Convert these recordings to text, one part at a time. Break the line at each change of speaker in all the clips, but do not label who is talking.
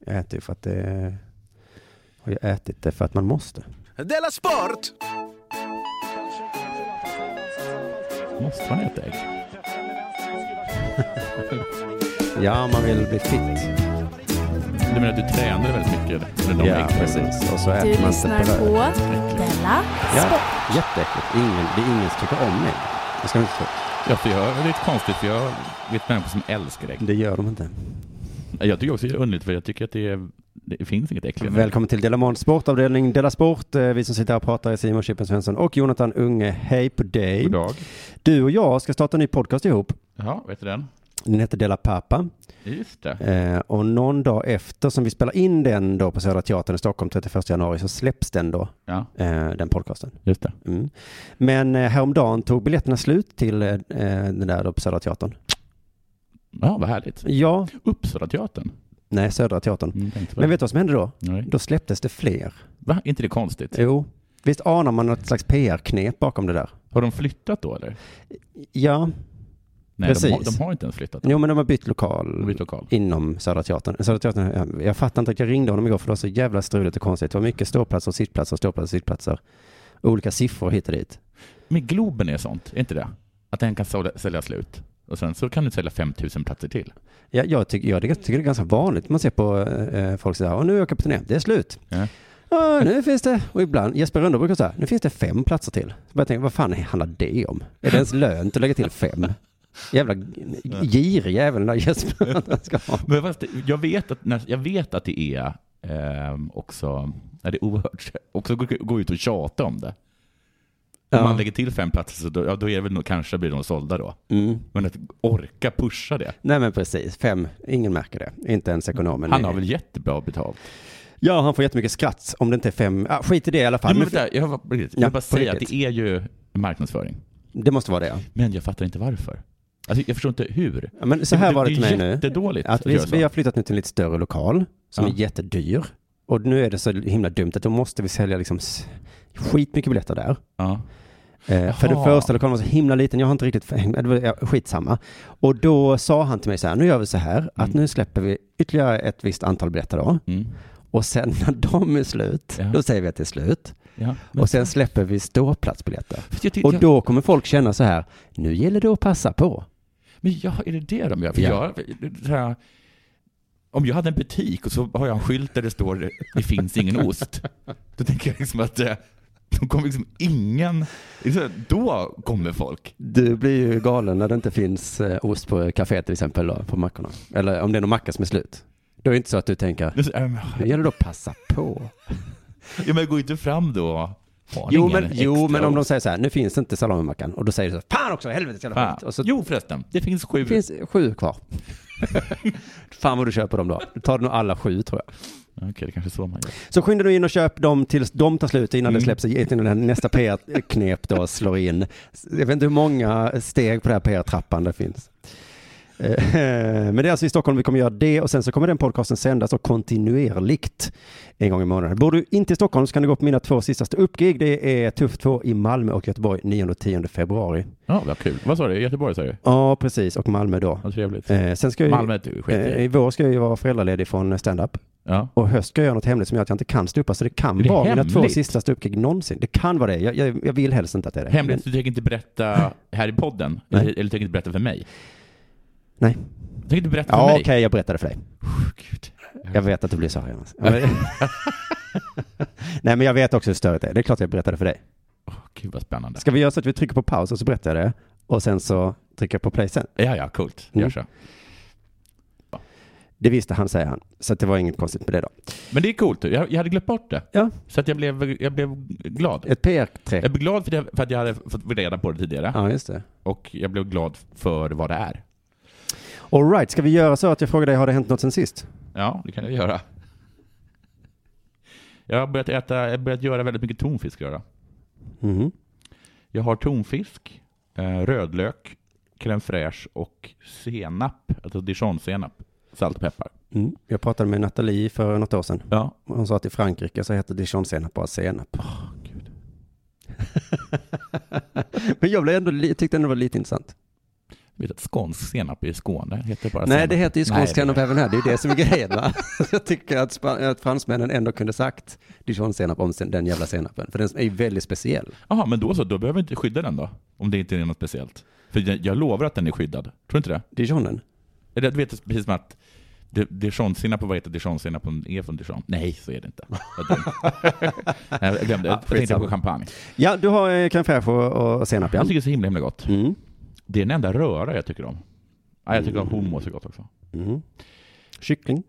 Jag äter ju för att det... Har jag ätit det för att man måste?
Della Sport!
Måste man äta ägg?
Ja, man vill bli fit.
Du menar att du tränade väldigt mycket? Med de
Ja,
ägg?
precis. Och så
Du
äter man
lyssnar
inte bröd.
på Della
Ja,
Sport.
jätteäckligt. Ingen, det är ingen som tycker om mig. Jag ska inte tro.
Ja, för jag, det är lite konstigt, för jag vet människor som älskar ägg.
Det gör de inte.
Mm. Jag tycker också det är underligt, för jag tycker att det, är, det finns inget äckligare.
Välkommen till Dela Måns sportavdelning Dela Sport. Eh, Vi som sitter här och pratar är Simon Chippen Svensson och Jonathan Unge. Hej på dig.
God dag.
Du och jag ska starta en ny podcast ihop.
Ja, vet du den?
Den heter Dela Pappa.
Just det.
Eh, och någon dag efter som vi spelar in den då på Södra Teatern i Stockholm 31 januari så släpps den då,
Ja,
eh, den podcasten.
just det.
Mm. Men eh, häromdagen tog biljetterna slut till eh, den där då på Södra Teatern.
Ja, vad härligt.
Ja,
Uppsalateatern.
nej Södra Teatern.
Mm, tänkte på
Men
det.
vet du vad som hände då?
Nej.
Då släpptes det fler.
Va? Är inte det konstigt?
Jo, visst anar man något slags PR-knep bakom det där?
Har de flyttat då, eller?
Ja,
Nej, de har,
Precis.
de har inte ens flyttat.
jo men de har bytt
De
lokal
har bytt lokal.
inom Södra Teatern. Södra Teatern jag, jag fattar inte, att jag ringde honom igår för det var så jävla struligt och konstigt. Det var mycket ståplatser och sittplatser, ståplatser och sittplatser. Olika siffror hit och dit.
Men Globen är sånt, är inte det? Att den kan sälja, sälja slut. Och sen så kan du sälja 5000 platser till.
Jag, jag, tycker, jag tycker det är ganska vanligt. Man ser på eh, folk säger, nu är jag på turné, det är slut.
Ja.
Ja, nu finns det, och ibland, Jesper Rönndahl brukar säga, nu finns det fem platser till. Så jag tänker, vad fan handlar det om? Är det ens lönt att lägga till fem? Jävla girig jävel den där Jesper. Han ska ha.
Men fast, det- jag, vet att, när, jag vet att det är ehm, också, när det är oerhört, också gå, gå ut och tjata om det.
Ja.
Om man lägger till fem platser så då, ja, då är det väl nog, kanske blir de sålda då.
Mm.
Men att orka pusha det.
Nej men precis, fem, ingen märker det. Inte ens ekonomen.
Han har väl jättebra betalt.
Ja, han får jättemycket skratt om det inte är fem, ah, skit i det i alla
Jo,
fall.
men
Men
vänta, jag har- jag vill
Ja, på
bara säga att
riktigt.
det är ju marknadsföring.
det måste vara det ja.
Men jag fattar inte varför. Alltså, jag förstår inte hur.
Ja, Men så här var det till mig
Det är
nu.
jättedåligt
Att
att
vi,
göra så.
vi har flyttat nu till en lite större lokal som
Ja.
är jättedyr. Och nu är det så himla dumt att då måste vi sälja liksom s- skitmycket biljetter där.
Ja.
Eh, för den
Jaha.
första lokalen var så himla liten, jag har inte riktigt, det var- ja, skitsamma. Och då sa han till mig så här, nu gör vi så här, att nu släpper vi ytterligare ett visst antal biljetter då.
Mm.
Och sen när de är slut,
Ja.
då säger vi att det är slut.
ja.
och sen släpper vi ståplatsbiljetter.
Fast jag tyckte-
Och då kommer folk känna så här, nu gäller det att passa på.
Men ja, är det det de gör? För
Ja.
jag, så här, om jag hade en butik och så har jag en skylt där det står det finns ingen ost. Då tänker jag liksom att eh, då kommer liksom ingen... liksom, Då kommer folk.
Du blir ju galen när det inte finns eh, ost på kaféet till exempel, då, på mackorna. Eller om det är någon macka som är slut. Då är det inte så att du tänker,
Det är så, ehm,
nu gäller det att passa på.
Ja, men jag går ju inte fram då. Har
Jo
ingen
men, jo,
extra
men om de
ost?
säger så här, nu finns det inte salamimackan. Och då säger du så här, fan också, helvete jävla
Fan.
skit. Och så
Jo förresten, det finns sju.
det finns sju kvar. fan vad du köper dem då. Du tar nog alla sju tror jag.
Okej, det kanske är så man gör.
Så skynda nu in och köp dem tills de tar slut innan
Mm.
det släpps, innan den nästa PR-knep då slår in. Jag vet inte hur många steg på den här PR-trappan det finns. Eh, Men det är alltså i Stockholm vi kommer göra det och sen så kommer den podcasten sändas och kontinuerligt en gång i månaden. Bor du inte i Stockholm så kan du gå på mina två sista uppgig. Det är Tufft 2 i Malmö och Göteborg 9 och 10 februari.
Ja, vad kul. Vad sa du? Göteborg sa du?
Ja, precis. Och Malmö då.
Vad trevligt.
Eh, Sen ska jag,
Alltså, Malmö du, skit
eh,
i.
I vår ska jag ju vara föräldraledig från stand-up.
Ja.
Och höst ska jag göra något hemligt som gör att jag inte kan stupa. Så det kan
Är det
vara mina två
hemligt?
sista stupgig någonsin. Det kan vara det. Jag, jag, jag vill helst inte att det är det.
Hemligt, du tänker inte berätta här i podden?
Nej.
Eller, eller du tänker inte berätta för mig?
Nej.
Du tänker inte berätta
Men,
för
ja,
mig?
okej, jag berättade för dig.
Gud.
Jag vet att du blir så arg annars. Ja, men- Nej, men jag vet också hur störigt det är. Det är klart jag berättade för dig.
Åh, Gud vad spännande.
Ska vi göra så att vi trycker på paus och så berättar jag det? Och sen så trycker jag på play sen.
Ja, ja, coolt.
Mm.
Gör så.
Det visste han, säger han. Så att det var inget konstigt med det då.
Men det är coolt. Jag, jag hade glömt bort det.
Ja.
Så att jag blev, jag blev glad.
Ett PR-trick.
Jag blev glad för, det, för att jag hade fått reda på det tidigare.
Ja, just det.
Och jag blev glad för vad det är.
All right, ska vi göra så att jag frågar dig, har det hänt något sen sist?
Ja, det kan jag göra. Jag har börjat, äta, jag har börjat göra väldigt mycket tonfiskröra.
Mhm.
Jag har tonfisk, eh, rödlök, crème fraîche och senap, alltså dijonsenap, salt och peppar.
Mm. Jag pratade med Nathalie för något år sedan.
Ja,
Hon sa att i Frankrike så heter dijonsenap bara senap.
gud.
Men jag blev ändå, li- tyckte ändå det var lite intressant.
Vet att skånsk senap i Skåne heter bara
Nej,
senap.
det heter ju
Nej,
skånsk senap även här. Det är ju det som är grejen. Va? Jag tycker att, span- att fransmännen ändå kunde sagt dijonsenap om sen- den jävla senapen. För den är ju väldigt speciell.
Jaha, men då så, då behöver vi inte skydda den då? Om det inte är något speciellt. För jag, jag lovar att den är skyddad. Tror du inte det?
Dijonen.
Eller du vet precis som att di- dijonsenap och vad heter dijonsenap om det är från Dijon? Nej, så är det inte. Vad dumt. Nej, jag glömde. Jag tänkte
skitsamma.
på champagne.
Ja, du har eh, crème fraîche och, och senap, ja.
Jag tycker det är så himla, himla gott.
Mm.
Det är den enda röra jag tycker om. Ja, jag tycker om hummus är gott också.
Mm. Kyckling.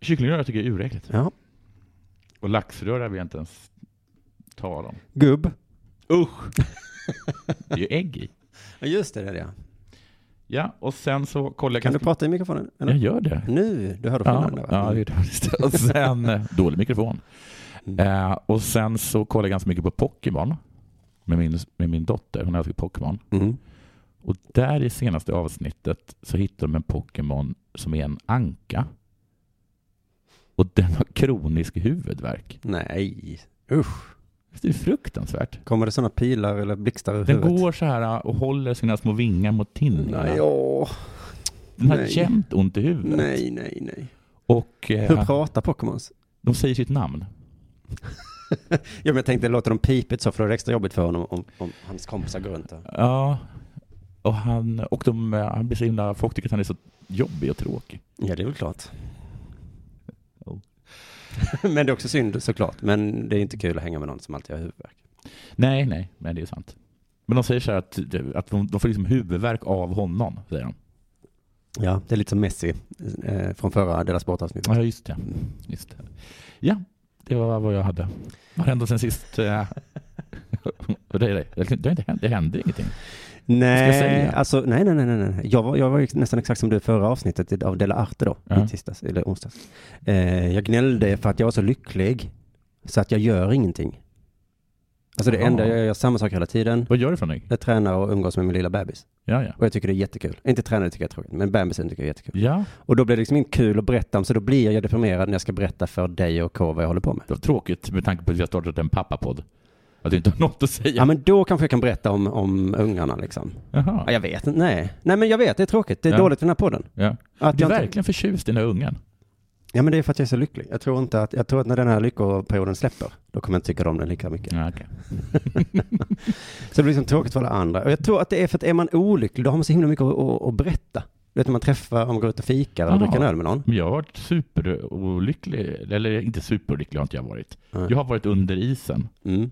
Kycklingröra tycker jag är uräckligt.
Ja.
Och laxröra vill jag inte ens tala om.
Gubb.
Usch! Det är ju ägg i.
Ja, just det, det är det.
Ja, och sen så kollar jag...
Kan du
ganska-
prata i mikrofonen? Eller?
Jag gör det.
Nu, du hörde
Ja,
skillnaden där, va?
ja, det är det. Och sen... eh, Dålig mikrofon.
Mm.
Eh, och sen så kollar jag ganska mycket på Pokémon. Med min, med min dotter. Hon älskar Pokémon.
Mm.
Och där i senaste avsnittet så hittar de en Pokémon som är en anka. Och den har kronisk huvudvärk.
Nej, usch.
Visst är det fruktansvärt?
Kommer det sådana pilar eller blixtar ur
Den
huvudet?
går så här eh, och håller sina små vingar mot tinnorna.
Nej, åh.
den har
nej.
jämt ont i huvudet.
nej, nej, nej.
Och
Hur
eh,
pratar Pokémons?
de säger sitt namn.
Ja, men jag tänkte låter dem pipet så för det är extra jobbigt för honom om, om hans kompisar går runt där.
Ja. Och, han, och de, eh, han blir så himla, folk tycker att han är så jobbig och tråkig.
Ja, det är väl klart.
Oh.
men det är också synd såklart. Men det är inte kul att hänga med någon som alltid har huvudvärk.
Nej, nej, men det är sant. Men de säger så här att, att de, de får liksom huvudvärk av honom, säger de.
Ja, det är lite som Messi eh, från förra Dela Sport-avsnittet.
Ja, just det. Just det. Ja, det var vad jag hade. Vad hände sen sist? eh? Och det, det, det, det, hände- det hände ingenting. Ska jag
Nej,
säga?
alltså, nej, nej, nej, nej, nej. Jag var, jag var ju nästan exakt som du i förra avsnittet av Dela Arte då,
Ja.
i tisdags, eller onsdags. Eh, jag gnällde för att jag var så lycklig, så att jag gör ingenting. Alltså det
Jaha.
enda, jag gör samma sak hela tiden.
Vad gör du för någonting?
Jag tränar och umgås med min lilla bebis.
Ja, ja.
Och jag tycker det är jättekul. Inte träna det tycker jag är tråkigt, men bebisen tycker jag är jättekul.
Ja,
Och då blir det liksom inte kul att berätta om, så då blir jag deprimerad när jag ska berätta för dig och K vad jag håller på med.
det var tråkigt med tanke på att vi har startat en pappapodd. Att du inte har något att
Ja,
säga.
men då kanske jag kan berätta om, om ungarna liksom. Ja,
Jaha.
jag vet inte, nej. Nej, men jag vet, det är tråkigt. Det är
Ja.
dåligt för den här podden.
Ja.
Att
Du är
jag inte-
verkligen förtjust i den här ungen.
Ja, men det är för att jag är så lycklig. Jag tror inte att, jag tror att när den här lyckoperioden släpper, då kommer jag inte tycka om den lika mycket.
Ja, okej.
Så det blir liksom tråkigt för alla andra. Och jag tror att det är för att är man olycklig, då har man så himla mycket att, att, att berätta. Du vet när man träffar, om man går ut och fikar eller
Aha.
dricker en öl med någon.
Men jag har varit superolycklig, eller inte superolycklig har inte jag varit.
Nej.
Jag har varit under isen.
Mm.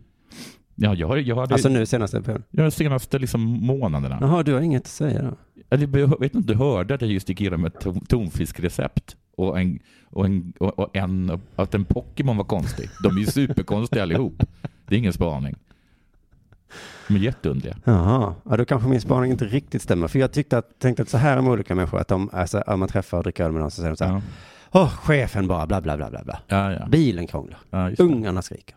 Ja, jag, har- jag hade
Alltså nu senaste perioden.
jag, de senaste liksom månaderna.
Jaha, du har inget att säga då?
Eller, jag vet inte om du hörde att jag just gick igenom ett ton- tonfiskrecept och, en, och, en, och, och en, att en Pokémon var konstig. De är ju superkonstiga allihop. Det är ingen spaning. De är jätteunderliga.
Jaha, ja, då kanske min spaning inte riktigt stämmer. För jag tyckte att, tänkte att så här om olika människor, att de, alltså, om man träffar och dricker öl med någon så säger de så här,
Ja,
åh, chefen bara, bla, bla, bla, bla, bla.
ja, ja.
Bilen krånglar,
ja just det.
ungarna skriker.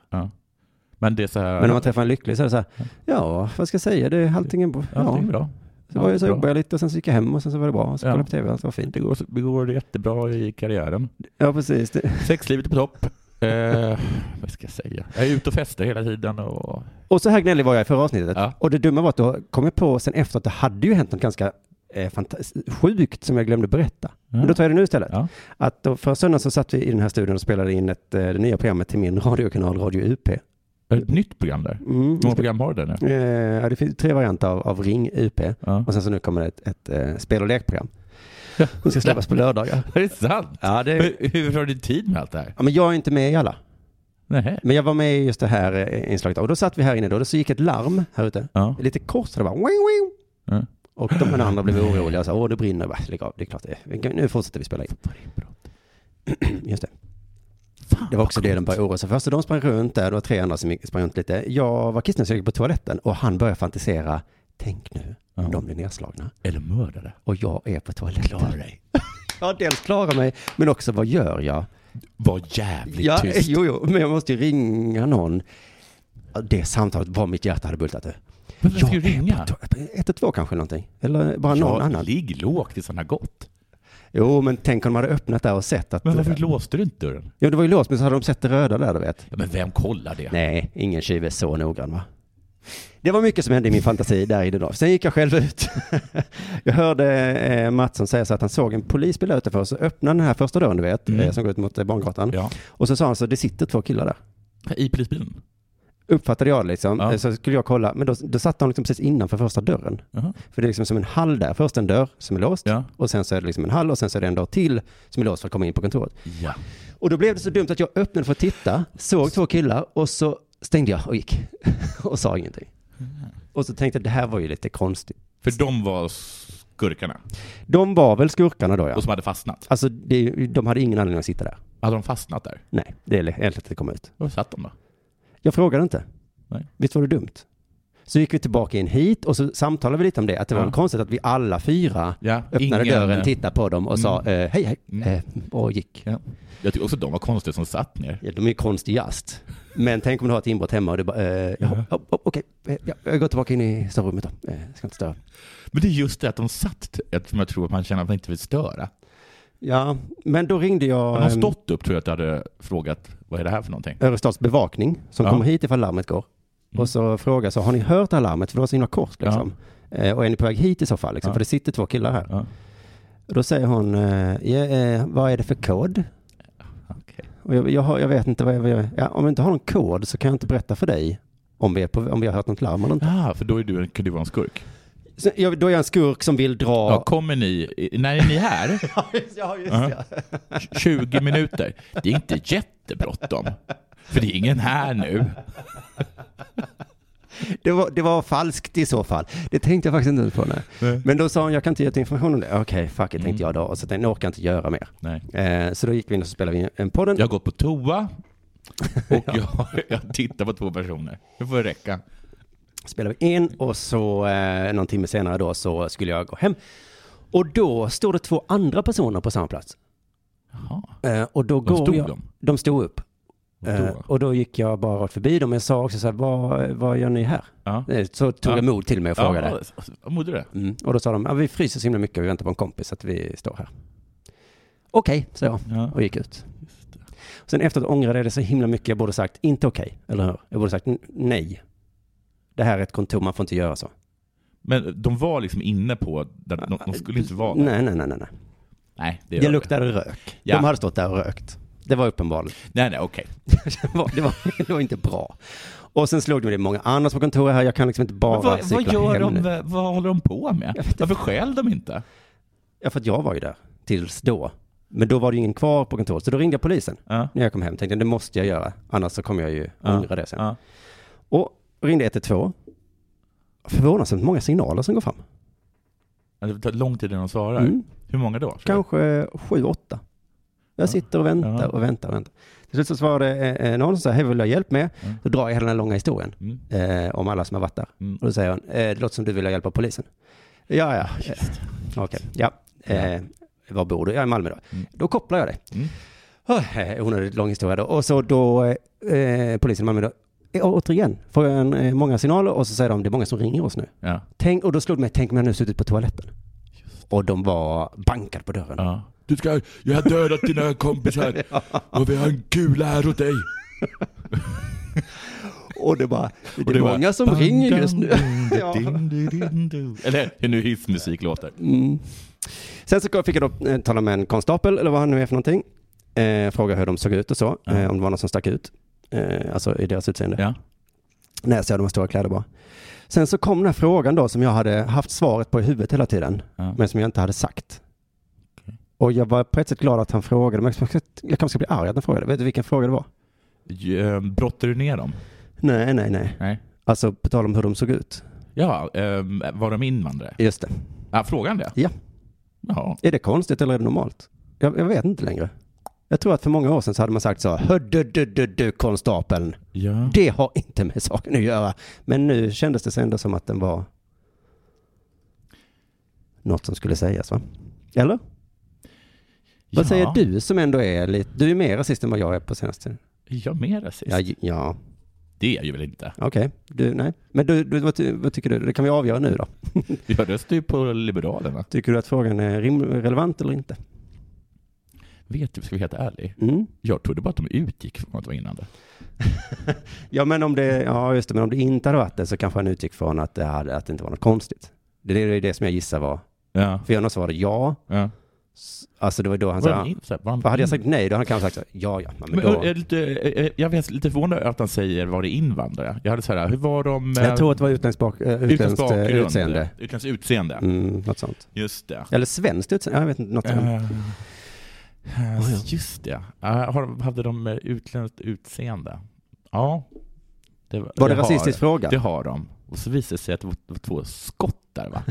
Men det är så här.
Men om man träffar en lycklig så är det så här, ja, vad ska jag säga, det är allting är bra.
allting
Ja,
är bra.
så, var jag, så
bra.
jobbade jag lite och sen så gick jag hem och sen så var det bra. Och så
Ja.
kollade jag på tv och allt var fint.
Det går, det går jättebra i karriären.
Ja, precis. Det.
Sexlivet är på topp. Eh, vad ska jag säga? Jag är ute och festar hela tiden och...
Och så här gnällig var jag i förra avsnittet.
Ja.
Och det dumma var att då kom jag på sen efter att det hade ju hänt något ganska eh, fantas- sjukt som jag glömde berätta. Men då tar jag det nu istället.
Mm. Ja.
Att då, förra söndagen så satt vi i den här studion och spelade in ett, eh, det nya programmet till min radiokanal Radio UP.
Är det ett nytt program där? Hur
Mm.
många program har du där nu?
Eh, ja, det finns tre varianter av, av Ring UP
Ja.
och sen så nu kommer det ett, ett eh, spel och lekprogram. Som ska släppas på lördagar.
Är det sant?
Ja, det...
Hur, hur har du tid med allt det här?
ja, men jag är inte med i alla.
Nej.
Men jag var med i just det här eh, inslaget och då satt vi här inne då, och så gick ett larm här ute.
Ja.
Lite kort så det bara wing, wing.
Ja.
Och de men andra blev oroliga och sa åh det brinner, Jag bara, lägg av, det är klart det är. Nu fortsätter vi spela in. Just det.
Fan,
Det var också det de började oroa sig för. Så de sprang runt där, det var tre andra som gick- sprang runt lite. Jag var kissnödig så jag gick på toaletten och han började fantisera, tänk nu om
Ja.
de blir nedslagna
Eller mördare.
och jag är på toaletten.
Klara dig.
Ja, dels klara mig, men också vad gör jag?
Var jävligt
Ja,
tyst.
jo, jo, men jag måste ju ringa någon. Ja, Det samtalet var mitt hjärta hade bultat. du.
Men vem ska
Jag
ju ringa?
är på to- 112 kanske någonting, eller bara någon
Ja,
annan.
Ligg lågt tills han har gått.
Jo, men tänk om de hade öppnat där och sett att...
Men varför låste du inte dörren?
Jo, det var ju låst, men så hade de sett det röda där, du vet.
Ja, men vem kollar det?
Nej, ingen tjuv är så noggrann, va? Det var mycket som hände i min fantasi där i det då. Sen gick jag själv ut. jag hörde eh, Mattsson säga så att han såg en polisbil utanför och så öppnade den här första dörren, du vet,
Mm.
eh, som går ut mot eh, barngatan.
Ja.
Och så sa han så, det sitter två killar där.
I polisbilen?
Uppfattade jag det liksom.
Ja.
Eh, Så skulle jag kolla, men då, då satt de liksom precis innanför första dörren.
Jaha.
För det är liksom som en hall där. Först en dörr som är låst
Ja.
och sen så är det liksom en hall och sen så är det en dörr till som är låst för att komma in på kontoret.
ja.
Och då blev det så dumt att jag öppnade för att titta, såg två killar och så stängde jag och gick och sa ingenting. Och så tänkte jag, det här var ju lite konstigt.
För de var skurkarna,
De var väl skurkarna då ja.
och som hade fastnat.
Alltså det, är ju- de hade ingen anledning att sitta där.
Hade de fastnat där?
Nej, det är enkelt att det kom ut.
Var satt de då?
Jag frågade inte.
Nej.
Visst var det dumt? Så gick vi tillbaka in hit och så samtalade vi lite om det, att det var
Ja.
konstigt att vi alla fyra
Ja,
öppnade
ingen-
dörren, tittade på dem och sa eh, hej hej
Mm.
eh, och gick.
Ja. Jag tycker också att de var konstiga som satt ner.
Ja, de är ju konstigast. Men tänk om du har ett inbrott hemma och du bara, eh, ja,
Ja.
ja, okej, eh, ja, jag går tillbaka in i sovrummet då. Eh, ska inte störa.
Men det är just det att de satt, eftersom jag tror att man känner att man inte vill störa.
Ja, men då ringde jag
Hade de
ehm,
stått upp tror jag att jag hade frågat, vad är det här för någonting?
Örestads bevakning som
Ja.
kommer hit ifall larmet går.
Mm.
Och så frågade jag så, har ni hört det här larmet? För det var så himla kort liksom. Eh, och är ni på väg hit i så fall? Liksom?
Ja.
För det sitter två killar här.
Ja.
Och Då säger hon, eh, ja, eh, vad är det för kod?
Okej.
Och jag, jag, har- jag vet inte vad jag, vad jag ja, om jag inte har någon kod så kan jag inte berätta för dig om vi, är på, om vi har hört något larm eller inte.
Ah, för då är du, kan du vara en skurk.
Så jag, då är jag en skurk som vill dra.
Ja, kommer ni, i- när är ni här?
Ja, just- ja, just
Ja.
det.
20 minuter. Det är inte jättebråttom. För det är ingen här nu.
Det var, det var falskt i så fall. Det tänkte jag faktiskt inte på. Nej. Men då sa hon, jag kan inte ge ut information om det. Okej, fuck it, tänkte jag då. Och så tänkte jag, nu orkar jag inte göra mer.
Nej.
Eh, så då gick vi in och så spelade vi en podden.
Jag har gått på toa och jag, jag tittar på två personer. Det får räcka.
Spelade vi in och så eh, någon timme senare då så skulle jag gå hem. Och då stod det två andra personer på samma plats.
Jaha.
Eh, och då
De
går
stod
jag,
de?
De stod upp.
Vad
Eh,
då?
och då gick jag bara rakt förbi dem. Jag sa också så här, vad, vad gör ni här?
Ja.
Eh, Så tog
Ja.
jag mod till mig och frågade.
Ja, vad mådde du?
Mm. Och då sa de, ja, vi fryser så himla mycket och vi väntar på en kompis så att vi står här. Okej, sa jag
Ja.
och gick ut. Sen efteråt ångrade jag det så himla mycket. Jag borde sagt, inte okej, eller hur? Jag borde sagt, "N- nej. Det här är ett kontor, man får inte göra så.
Men de var liksom inne på, där, de, de skulle inte vara där.
Nej, nej, nej, nej. nej.
Nej, det,
Det
gör
luktade rök.
Ja.
De hade stått där och rökt. Det var uppenbarligen.
vi. Nej, nej, okej.
Det var, det var, det var inte bra. Och sen slog det mig, det är många andra på kontoret här. Jag kan liksom inte bara
Men Vad,
cykla
vad gör
hem
de,
nu.
vad håller de på med? Varför skäl de inte?
Ja, för att jag var ju där tills då. Men då var det ju ingen kvar på kontoret, så då ringde jag polisen.
Ja.
när jag kom hem. Tänkte jag, det måste jag göra, annars så kommer jag ju
Ja.
ångra det sen.
Ja.
Och ringde 112. Förvånansvärt många signaler som går fram.
Ja, Det tar lång tid innan de svarar.
Mm.
Hur många då?
Kanske sju, åtta. Jag sitter och väntar
Ja.
och väntar och väntar. Till slut så svarade eh, eh, någon som sa, hej, vad vill du ha hjälp med?
Ja.
Då drar jag hela den här långa historien
Mm.
eh, om alla som har varit där.
Mm.
Och då säger hon, eh, det låter som du vill ha hjälp av polisen. Ja, ja, eh, okej, ja. Eh, var bor du? Jag är i Malmö då.
Mm.
Då kopplar jag det.
Mm.
Oh, eh, onödigt lång historia då. Och så då, eh, polisen i Malmö då, eh, återigen, får jag en, eh, många signaler och så säger de, det är många som ringer oss nu.
Ja.
Tänk, och då slog det mig, tänk om jag nu suttit på toaletten. Och de var bankade på dörren.
Ja. Du ska, jag har dödat dina kompisar och vi har en kula här åt dig.
Och det bara, det
Och
är många som
bara,
ringer just nu. Ja.
Eller hur nu hissmusik låter.
Mm. Sen så fick jag då eh, tala med en konstapel, eller vad han nu är för någonting. Eh, fråga hur de såg ut och så,
Ja.
eh, om det var någon som stack ut. Eh, alltså i deras utseende.
Ja.
Näsa, de har stora kläder bara. Sen så kom den här frågan då som jag hade haft svaret på i huvudet hela tiden,
Ja.
men som jag inte hade sagt.
Okej.
Och jag var på ett sätt glad att han frågade, men jag jag kanske ska bli arg att han frågade. Vet du vilken fråga det var?
Eh, Brottar du ner dem?
Nej, nej, nej.
Nej.
Alltså på tal om hur de såg ut.
Ja, ehm, var de invandrare?
Just det.
Ja, frågan det?
Ja.
Ja.
Är det konstigt eller är det normalt? Jag, jag vet inte längre. Jag tror att för många år sedan så hade man sagt så, "Hö, du, du, du, du konstapeln,
ja.
det har inte med saken att göra. Men nu kändes det ändå som att den var något som skulle sägas va? Eller? Vad
ja.
säger du som ändå är lite, du är mer rasist än vad jag är på senaste tiden.
Är jag mer rasist?
Ja, j- ja
Det är jag ju väl inte.
okej. Du, nej. Men du, du, vad, ty- vad tycker du? Det kan vi avgöra nu då.
Jag röstar ju på Liberalerna.
Tycker du att frågan är rim- relevant eller inte?
vet du, ska vi vara helt ärlig,
Mm.
jag trodde bara att de utgick från att det var inandning.
Ja, men om det, ja, just det, men om det inte hade varit det så kanske han utgick från att det, hade, att det inte var något konstigt. Det är det, är det som jag gissar var.
Ja,
För jag svarade ja.
ja.
S- Alltså det var då han
Var de
sa,
in- så här, var de
för hade jag
in-
sagt nej då hade han kanske sagt så här, ja, ja, men,
Men,
då.
jag är lite, eh, jag vet, lite förvånad över att han säger var det invandrare. Jag hade så här, hur var de? eh,
jag tror att det var utländsk bak, eh, utländskt eh,
bakgrund?
utseende.
Utländskt utseende.
Mm, något sånt.
Just det.
Eller svenskt utseende, jag vet inte, något sånt.
Eh, eh, Just det. Ja, har- Hade de eh, utländskt utseende? Ja. Det
Var det
har-
rasistisk fråga?
Det har de. Och så visade det sig att det var- det var två skottar, va?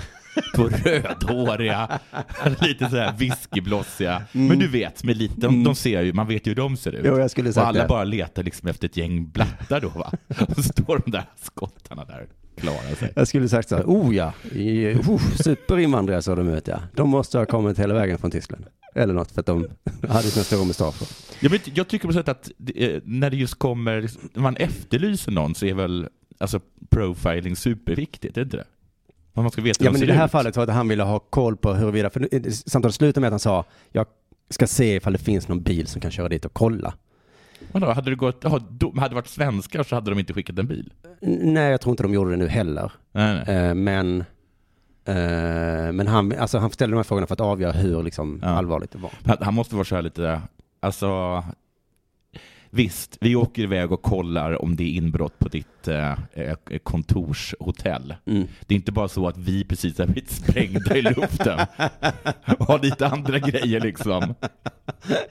Två rödhåriga, lite så här whiskyblossiga. Men du vet, med lite, de, de ser ju, man vet ju hur de ser ut.
Mm. Jo, jag skulle
och
sagt
alla
det.
bara letar liksom efter ett gäng blattar då, va? Och så står de där skottarna där, klarar sig.
Jag skulle sagt så här, oh ja, i- oh, superinvandrare såg de ut ja. De måste ha kommit hela vägen från Tyskland. Eller något, för att de hade sina stora mustascher.
Jag, vet, jag tycker på sätt att det, eh, när det just kommer, när man efterlyser någon så är väl alltså, profiling superviktigt, är det inte det? Vad Man ska veta hur
Ja,
de
men i
ser
det här
ut.
fallet var det att han ville ha koll på huruvida, för nu- eh, samtalet slutade med att han sa, jag ska se ifall det finns någon bil som kan köra dit och kolla.
Vadå, hade det gått, aha, de hade det varit svenskar så hade de inte skickat en bil.
N- Nej, jag tror inte de gjorde det nu heller.
Nej, nej.
Eh, men eh, men han, alltså han ställde de här frågorna för att avgöra hur liksom,
Ja.
allvarligt det var.
Han, han måste vara så här lite, alltså visst, vi åker iväg och kollar om det är inbrott på ditt eh, eh, kontorshotell.
Mm.
Det är inte bara så att vi precis har blivit sprängda i luften och har lite andra grejer liksom.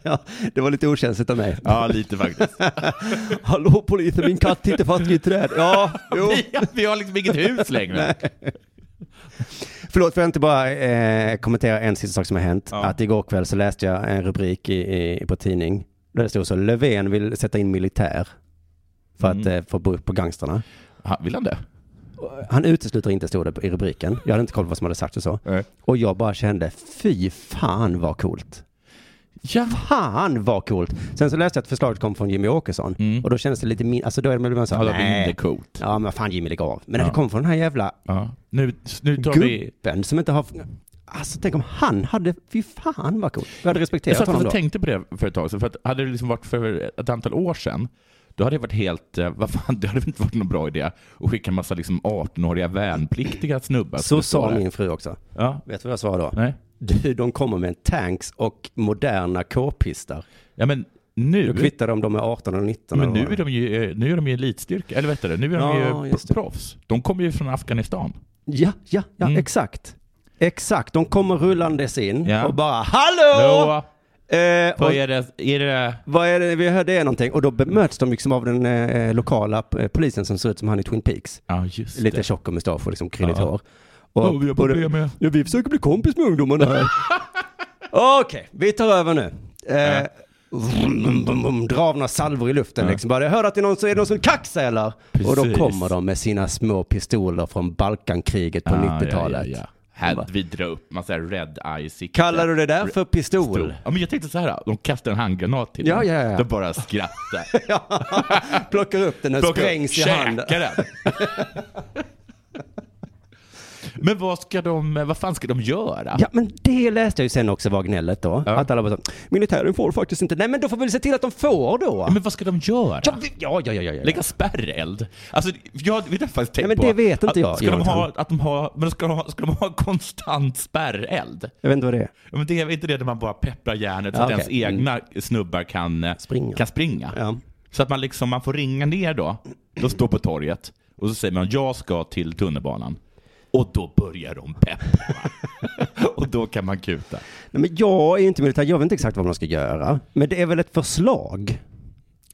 Ja, det var lite okänsligt av mig.
Ja, lite faktiskt.
Hallå polisen, min katt sitter fast i ett träd. Ja, jo.
Vi, vi har liksom inget hus längre.
Förlåt, får jag inte bara eh, kommentera en sista sak som har hänt?
Ja.
Att igår kväll så läste jag en rubrik i, i, på tidning där det stod så Löfven vill sätta in militär för
Mm.
att eh, få bukt på gangstrarna.
Ha, vill han det?
Han utesluter inte, stod det i rubriken. Jag hade inte koll på vad som hade sagt och så.
Nej.
Och jag bara kände, fy fan vad coolt.
Ja.
Fan vad coolt. Sen så läste jag att förslaget kom från Jimmy Åkesson.
Mm.
Och då kändes det lite min... Alltså då är det- blev man så
Ja,
här,
det blir
nej.
inte coolt.
Ja, men fan Jimmy lägg av. Men när
Ja.
det kom från den här jävla
Ja. Nu, nu tar vi...
gubben som inte har... Alltså tänk om han hade, fy fan vad coolt. Jag hade
Jag
respekterat
satt
honom
och
då.
tänkte på det för ett tag sedan, för att hade det liksom varit för ett antal år sedan, då hade det varit helt, eh, vad fan, det hade väl inte varit någon bra idé att skicka en massa liksom 18-åriga värnpliktiga snubbar.
Så
som står
sa
där.
min fru också.
Ja,
Vet du vad jag svarade då?
nej.
Du, de kommer med en tanks och moderna k-pistar.
Ja men
Då
nu,
kvittar de om de är 18 eller 19.
men
eller
nu
vad
är de ju, eh, nu är de ju elitstyrka, eller vet du det, nu är de
Ja,
ju
just det.
proffs. De kommer ju från Afghanistan.
Ja, ja, ja,
Mm.
exakt. Exakt, de kommer rullandes in
Ja.
och bara hallå!
Nå,
Eh, och,
vad är det, är det,
vad är det, vi hörde är någonting. Och då bemöts de liksom av den eh, lokala eh, polisen som ser ut som han i Twin Peaks.
ja just
Lite
det.
tjock och mustasch och liksom krylligt
Ja.
hår.
Ja, vi har
och det-
problem med...
Ja, vi försöker bli kompis med ungdomarna här. Okej, vi tar över nu. Eh, vrum, vrum, vrum, Dra av några salvor i luften liksom. Bara, jag hörde att det är någon som, är det någon som kaxar eller? Och då
Precis.
kommer de med sina små pistoler från Balkankriget på
Ah, Ja,
90-talet.
Ja, ja, ja. Här, vi drar upp massa red eye sikte.
Kallar du det där för pistol?
Ja, men jag tänkte så här, de kastar en handgranat till
Ja,
mig.
ja, ja.
De bara skrattar.
Ja, plockar upp den, den
Plockar upp,
sprängs i
käkar
handen.
den. men vad ska de, vad fan ska de göra?
Ja, men det läste jag ju sen också var gnället då.
Ja.
Att alla bara så, militären får faktiskt inte. Nej, men då får vi väl se till att de får då.
Men vad ska de göra?
Ja, vi- ja, ja, ja, ja. ja.
Lägga spärreld? Alltså, jag vet inte faktiskt tänkt
men
på
det vet inte
att,
jag,
Ska de
Jonathan.
ha, att de har, men ska de ha, ska de ha konstant spärreld?
Jag vet inte vad det är.
Ja, men det är väl inte det där man bara pepprar hjärnet så
Ja,
att
okej. Mm.
ens egna snubbar kan eh,
Springa.
Kan springa.
Ja.
Så att man liksom, man får ringa ner då, de står på torget och så säger man jag ska till tunnelbanan. Och då börjar de peppra. och då kan man kuta.
Nej, men jag är ju inte militär, jag vet inte exakt vad man ska göra. Men det är väl ett förslag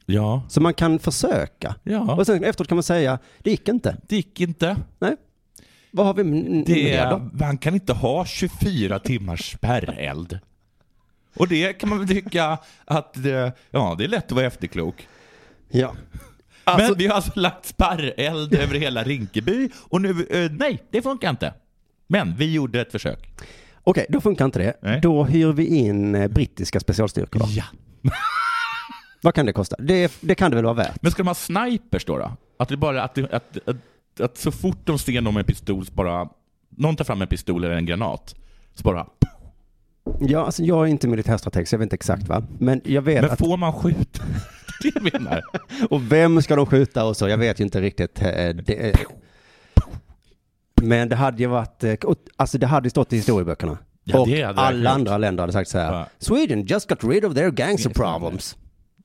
Ja.
som man kan försöka.
Ja.
Och sen efteråt kan man säga, det gick inte.
Det gick inte.
Nej. Vad har vi m-
Det
mer
är,
då?
man kan inte ha 24 timmars spärreld. Och det kan man väl tycka att, eh, ja det är lätt att vara efterklok.
Ja.
Men vi har alltså lagt sparreld över hela Rinkeby och nu, eh, nej, det funkar inte. Men vi gjorde ett försök.
Okej, då funkar inte det.
Nej.
Då hyr vi in eh, brittiska specialstyrkor. va?
Ja.
Vad kan det kosta? Det, det kan det väl vara värt?
Men ska de ha snipers då? då? Att, det bara, att, det- att, att, att så fort de ser någon med en pistol, så bara, någon tar fram en pistol eller en granat, så bara
Ja, alltså jag är inte militärstrateg så jag vet inte exakt va. Men jag vet
Men
att,
får man skjuta? Det är det jag menar.
och vem ska de skjuta och så, jag vet ju inte riktigt. eh, Det, eh. men det hade ju varit, eh, och, alltså det hade ju stått i historieböckerna.
Ja,
och
det hade
alla
verkligen.
andra länder hade sagt så här.
Ja.
Sweden just got rid of their gangster problems.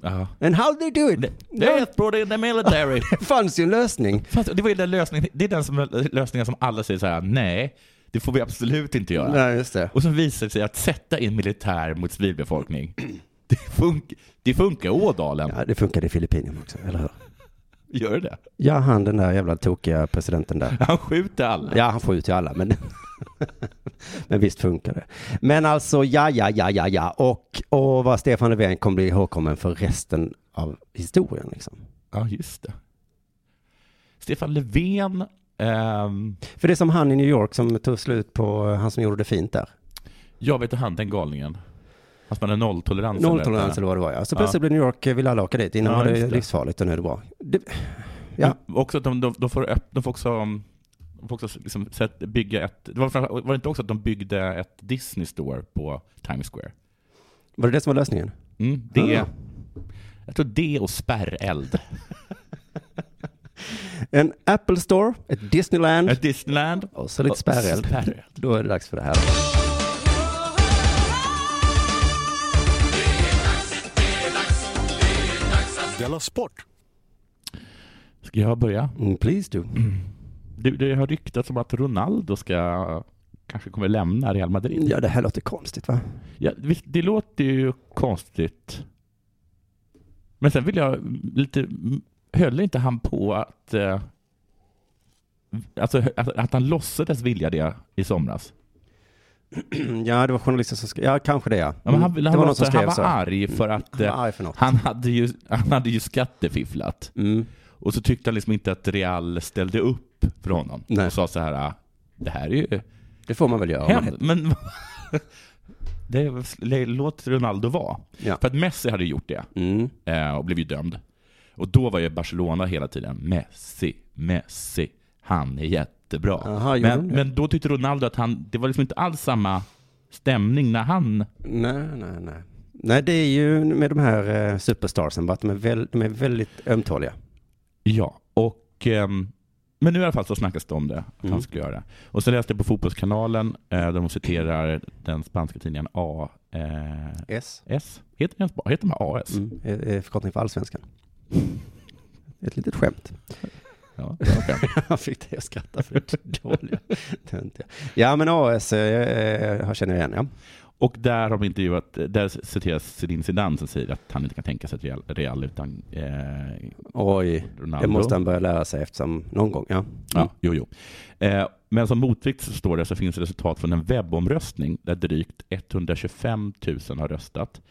Ja.
And how they do it? Ja,
Death brought in the military.
det fanns ju en lösning.
Fast det var ju den lösningen, det är den som, lösningen som alla säger så här: nej, det får vi absolut inte göra.
Nej, just det.
Och så visar det sig att sätta in militär mot civilbefolkning, det, funk, det funkar i Ådalen.
Ja, det funkade i Filippinerna också, eller hur?
Gör det det?
Ja, han den där jävla tokiga presidenten där.
Han skjuter alla.
Ja, han får ut till alla, men, men visst funkar det. Men alltså, ja, ja, ja, ja, ja. Och, och vad Stefan Löfven kommer bli ihågkommen för resten av historien. Liksom.
Ja, just det. Stefan Löfven, ehm,
För det är som han i New York som tog slut på, eh, han som gjorde det fint där.
jag vet inte han den galningen. Fast man har nolltolerans.
Nolltolerans eller vad det var, ja. Så plötsligt blev New York, eh, ville alla åka dit. Innan
Ja,
var det
just det.
livsfarligt och nu är det bra. Det,
Ja.
Ja.
Också att de, de, de, får, öpp, de får också, um, de får också liksom sätt, bygga ett... Det var, framför- var det inte också att de byggde ett Disney Store på Times Square?
var det det som var lösningen?
Mm, det,
Ah.
Jag tror det och spärreld.
En Apple Store, ett Disneyland
Ett Disneyland.
och så Mm. lite
och
spärreld.
spärreld.
Då är det dags för det här.
Della Sport!
Ska jag börja?
Mm, please do.
Det, det har ryktats om att Ronaldo ska kanske kommer lämna Real Madrid.
Ja, det här låter konstigt va?
Ja, visst, det låter ju konstigt. Men sen vill jag lite... Höll inte han på att... Eh, alltså att, att han låtsades vilja det i somras?
Ja, det var journalisten som skrev. Ja, kanske det ja.
Ja, men han,
Mm,
han,
det
var
var någon som
han
skrev
var
så. Mm.
arg för att
Han
eh,
var arg för något.
han, hade ju, han hade ju skattefifflat.
Mm.
Och så tyckte han liksom inte att Real ställde upp för honom.
Nej.
Och sa så här, ah, det här är ju
Det får man väl göra. om man
hemskt. Men det, är- låt Ronaldo vara.
Ja.
För att Messi hade ju gjort det.
heter- Mm.
eh, och blev ju dömd. Och då var ju Barcelona hela tiden Messi, Messi, han är jättebra.
Aha, gjorde
men,
de det?
men då tyckte Ronaldo att han, det var liksom inte alls samma stämning när han...
Nej, nej, nej. Nej, det är ju med de här eh, superstarsen, va, att de är, väl, de är väldigt ömtåliga.
Ja, och... ehm, men nu i alla fall så snackas det om det, att han
Mm.
skulle göra det. Och sen läste jag på Fotbollskanalen, eh, där de citerar den spanska tidningen AS.
S.
Heter, den, heter de här AS?
Mm. Är, är förkortning för allsvenskan. Ett litet skämt.
Ja, det var skönt.
Jag fick det att skratta för det är dåliga. töntiga. Ja, men AS eh, jag känner jag igen, ja.
Och där har de intervjuat, eh, där citeras Zinedine Zidane som säger att han inte kan tänka sig ett Real, real utan eh,
Oj,
Ronaldo.
det måste han Mm. börja lära sig eftersom någon gång, ja.
Ja, jo, jo. Eh, men som motvikt så står det så finns resultat från en webbomröstning där drygt 125 000 har röstat.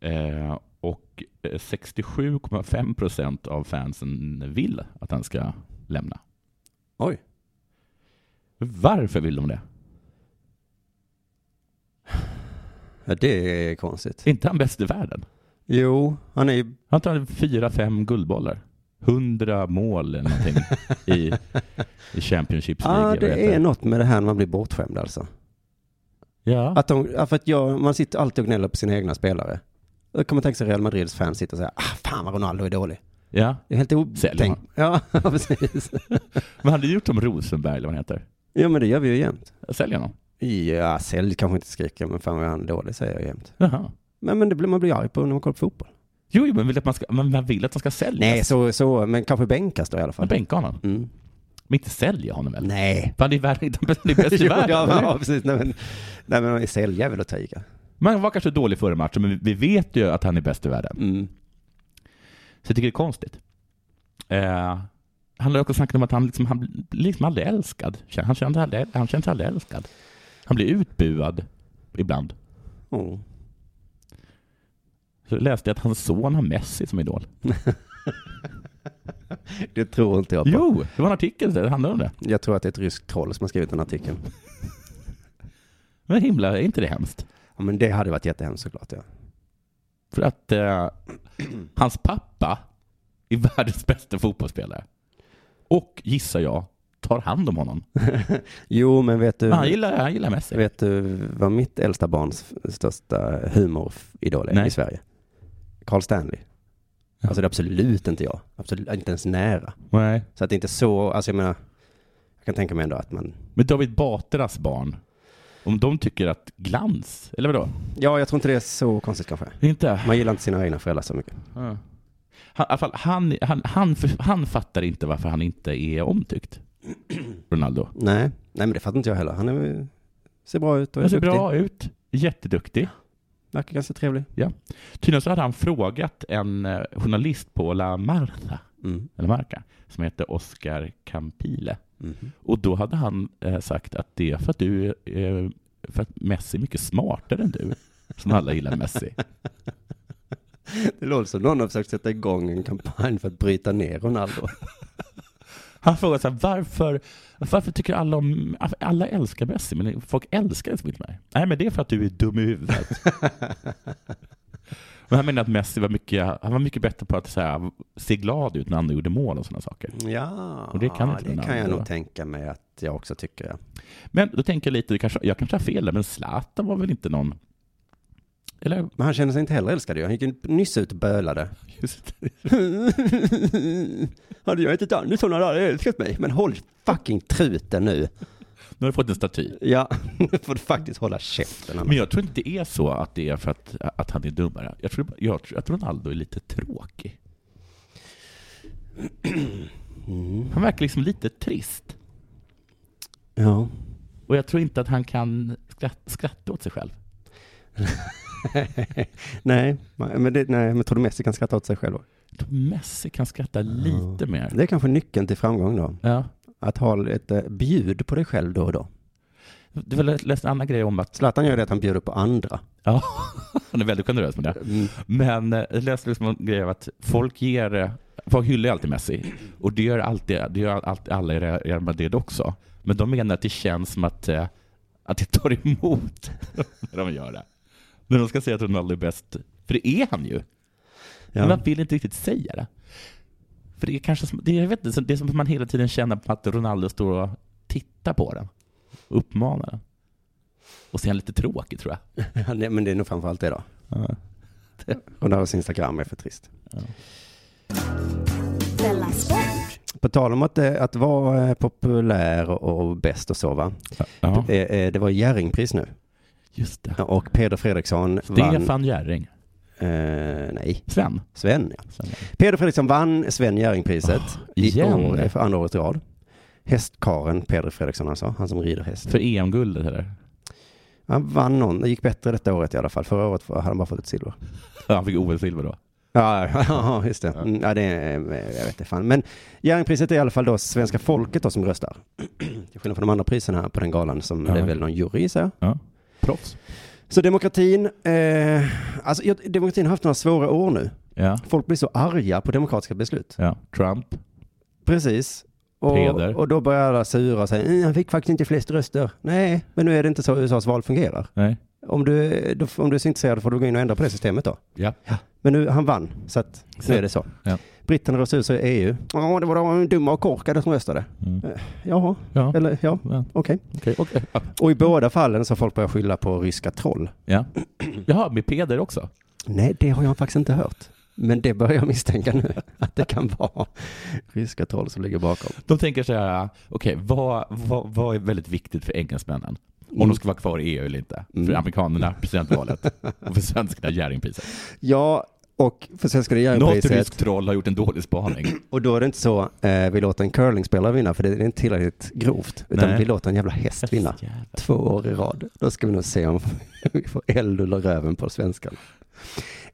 Eh, och eh, 67,5 procent av fansen vill att han ska lämna.
Oj.
Varför vill de det?
Ja, det är konstigt.
Är inte han bäst i världen?
Jo, han är ju,
Han tar fyra, fem guldbollar. 100 mål eller någonting i, i Championships League.
ah,
eller vad
det
heter
är något med det här när man blir bortskämd alltså.
Ja.
Att de, ja, för att jag, man sitter alltid och gnäller på sina egna spelare. Då kan man tänka sig Real Madrids fans sitter och säger, ah, fan vad Ronaldo är dålig.
ja.
Det är helt
Säljer
otänkt.
man.
Ja, precis.
Men hade du gjort som Rosenberg eller vad han heter?
Jo, men det gör vi ju jämt.
Sälj honom.
Ja, sälj kanske inte skriker, men fan vad han är dålig säger jag jämt.
Jaha.
Men, men det blir, man blir arg på när man kollar på fotboll.
Jo, jo, men vill att man, ska, men man vill att man ska sälja.
Nej, så, så, men kanske bänkas då i alla
Man
fall.
bänkar honom.
Mm.
Men inte sälja honom väl?
Nej.
Fan, det är världen, det är bäst i
Jo, ja,
världen. eller?
ja, precis. Nej, men, nej, men sälja är väl att ta i. ja.
Man var kanske dålig före matchen, men vi vet ju att han är bäst i världen.
Mm.
Så jag tycker det är konstigt. Eh, han har också snackat om att han liksom, han blir liksom aldrig älskad. Han känns aldrig, han känns aldrig älskad. Han blir utbuad ibland.
Oh.
Så läste jag att hans son har Messi som idol.
Det tror inte jag på.
Jo, det var en artikel där det handlade om det.
Jag tror att det är ett ryskt troll som har skrivit den artikeln.
Men himla, är inte det hemskt?
Ja, men det hade varit jättehemskt såklart. Ja.
För att eh, hans pappa är världens bästa fotbollsspelare. Och, gissar jag, tar hand om honom.
Jo, men vet du,
Men han gillar, han gillar Messi.
vet du vad mitt äldsta barns f- största humoridol är
Nej.
i Sverige? Carl Stanley. Alltså det är absolut inte jag. Absolut, inte ens nära.
Nej.
Så att det är inte så, alltså jag menar, jag kan tänka mig ändå att man,
Men David Batras barn, om de tycker att glans, eller vadå?
ja jag tror inte det är så konstigt kanske.
Inte?
Man gillar inte sina egna föräldrar så mycket.
Han, i alla fall, han, han, han, han fattar inte varför han inte är omtyckt. Ronaldo.
Nej, nej men det fattar inte jag heller. Han är, ju- ser bra ut och är
Han ser
duktig.
bra ut. Jätteduktig.
Verkar ganska trevlig.
Tydligen så hade han frågat en eh, journalist på La Marca,
Mm.
eller Marca som heter Oscar Campile.
Mhm.
Och då hade han eh, sagt att det är för att du eh, för att Messi är mycket smartare än du. Som alla gillar Messi.
Det låter som någon har försökt sätta igång en kampanj för att bryta ner Ronaldo.
Han frågar så här, varför, varför tycker alla om, alla älskar Messi, men folk älskar inte så mycket mig. Nej, men det är för att du är dum i huvudet. men han menar att Messi var mycket, han var mycket bättre på att så här, se glad ut när andra gjorde mål och sådana saker.
Ja,
Och det kan inte
det
Ronaldo,
kan jag nog
va?
tänka mig att jag också tycker. Ja.
Men då tänker jag lite, det kanske, jag kanske har fel där, men Zlatan var väl inte någon... Eller?
Men han känner sig inte heller älskad ju. Han gick ju nyss ut och bölade.
Just,
Hade jag hetat Andersson hade alla älskat mig. Men håll fucking truten nu.
nu har du fått en staty.
Ja, nu får du faktiskt hålla käften.
Men
annars.
jag tror inte det är så att det är för att, att han är dummare. Jag tror, jag, tror- jag tror Ronaldo är lite tråkig.
Mm.
Han verkar liksom lite trist.
Ja.
Och jag tror inte att han kan skratta, skratta åt sig själv.
nej, men det, nej, men tror du Messi kan skratta åt sig själv? då?
Jag tror Messi kan skratta lite mer.
Det är kanske nyckeln till framgång då.
Ja.
Att ha ett eh, bjud på dig själv då och då.
Du var läst en annan grej om att...
Zlatan gör det att han bjuder på andra.
Ja, han är väldigt generös med det.
Mm.
Men eh, jag läste liksom en grej om att folk ger... eh, Folk hyllar ju alltid Messi. Och det gör, alltid, det gör alltid alla i Real Madrid också. Men de menar att det känns som att, eh, att det tar emot när de gör det. När de ska säga att Ronaldo är bäst, för det är han ju.
Ja.
Men man vill inte riktigt säga det. För det är kanske som, det, är- jag vet inte, så det är som att man hela tiden känner på att Ronaldo står och tittar på den. Och uppmanar den. Och ser han lite tråkig tror jag.
Ja, nej, men det är nog framförallt det då.
Ja.
Ronaldos Instagram är för trist.
Della Sport!
På tal om att, eh, att vara eh, populär och, och bäst och så va.
Ja,
Eh, eh, Det var Jerringpris nu.
just det.
Och Peder Fredriksson vann.
Stefan Jerring.
Eh, nej,
Sven.
Sven ja.
Sven Jerring.
Peder Fredriksson vann Sven Jerringpriset. I
igen?
år, eh, för andra året i rad. Hästkaren Peder Fredriksson alltså, han som rider häst.
För EM-guldet eller?
Han vann någon, det gick bättre detta året i alla fall. Förra året hade han bara fått ett silver.
Ja, han fick OS-silver då.
Ja, ja, just det. Mm, Ja, det är, jag vet inte fan. Men Jerringpriset är i alla fall då svenska folket då som röstar. Till skillnad från de andra priserna på den galan som
Ja.
det är väl någon jury så.
Ja. Proffs.
Så demokratin, eh, alltså jag- demokratin har haft några svåra år nu.
Ja.
Folk blir så arga på demokratiska beslut.
ja. Trump.
Precis. Och,
Peder.
och då börjar alla sura och säga, "Mm, han fick faktiskt inte flest röster. Nej, men nu är det inte så USAs val fungerar.
Nej.
Om du, då, om du är så intresserad får du gå in och ändra på det systemet då.
Ja.
Men nu, han vann, så att
Så-
nu är det så.
Ja.
Britterna röstade ut sig i E EU. Ja, det var de dumma och korkade som röstade.
Mm.
Eh, Jaha,
Ja.
eller ja,
Ja.
okej.
Okej. okej. Ja.
Och i båda fallen så har folk börjat skylla på ryska troll.
Ja. Jaha, med Peder också?
Nej, det har jag faktiskt inte hört. Men det börjar jag misstänka nu, att det kan vara ryska troll som ligger bakom.
De tänker så här, okej, vad, vad, vad är väldigt viktigt för engelsmännen? Om
Mm.
de ska vara kvar i EU eller inte. För
Mm.
amerikanerna, presidentvalet. och för svenskarna, Jerringpriset.
Ja, och för Svenska
Något
Regeringspriset.
ryskt troll har gjort en dålig spaning.
Och då är det inte så, eh, vi låter en curlingspelare vinna, för det är inte tillräckligt grovt. Utan
Nej.
vi låter en jävla häst vinna.
Jävlar.
Två år i rad. Då ska vi nog se om vi får eld under röven på svenskan.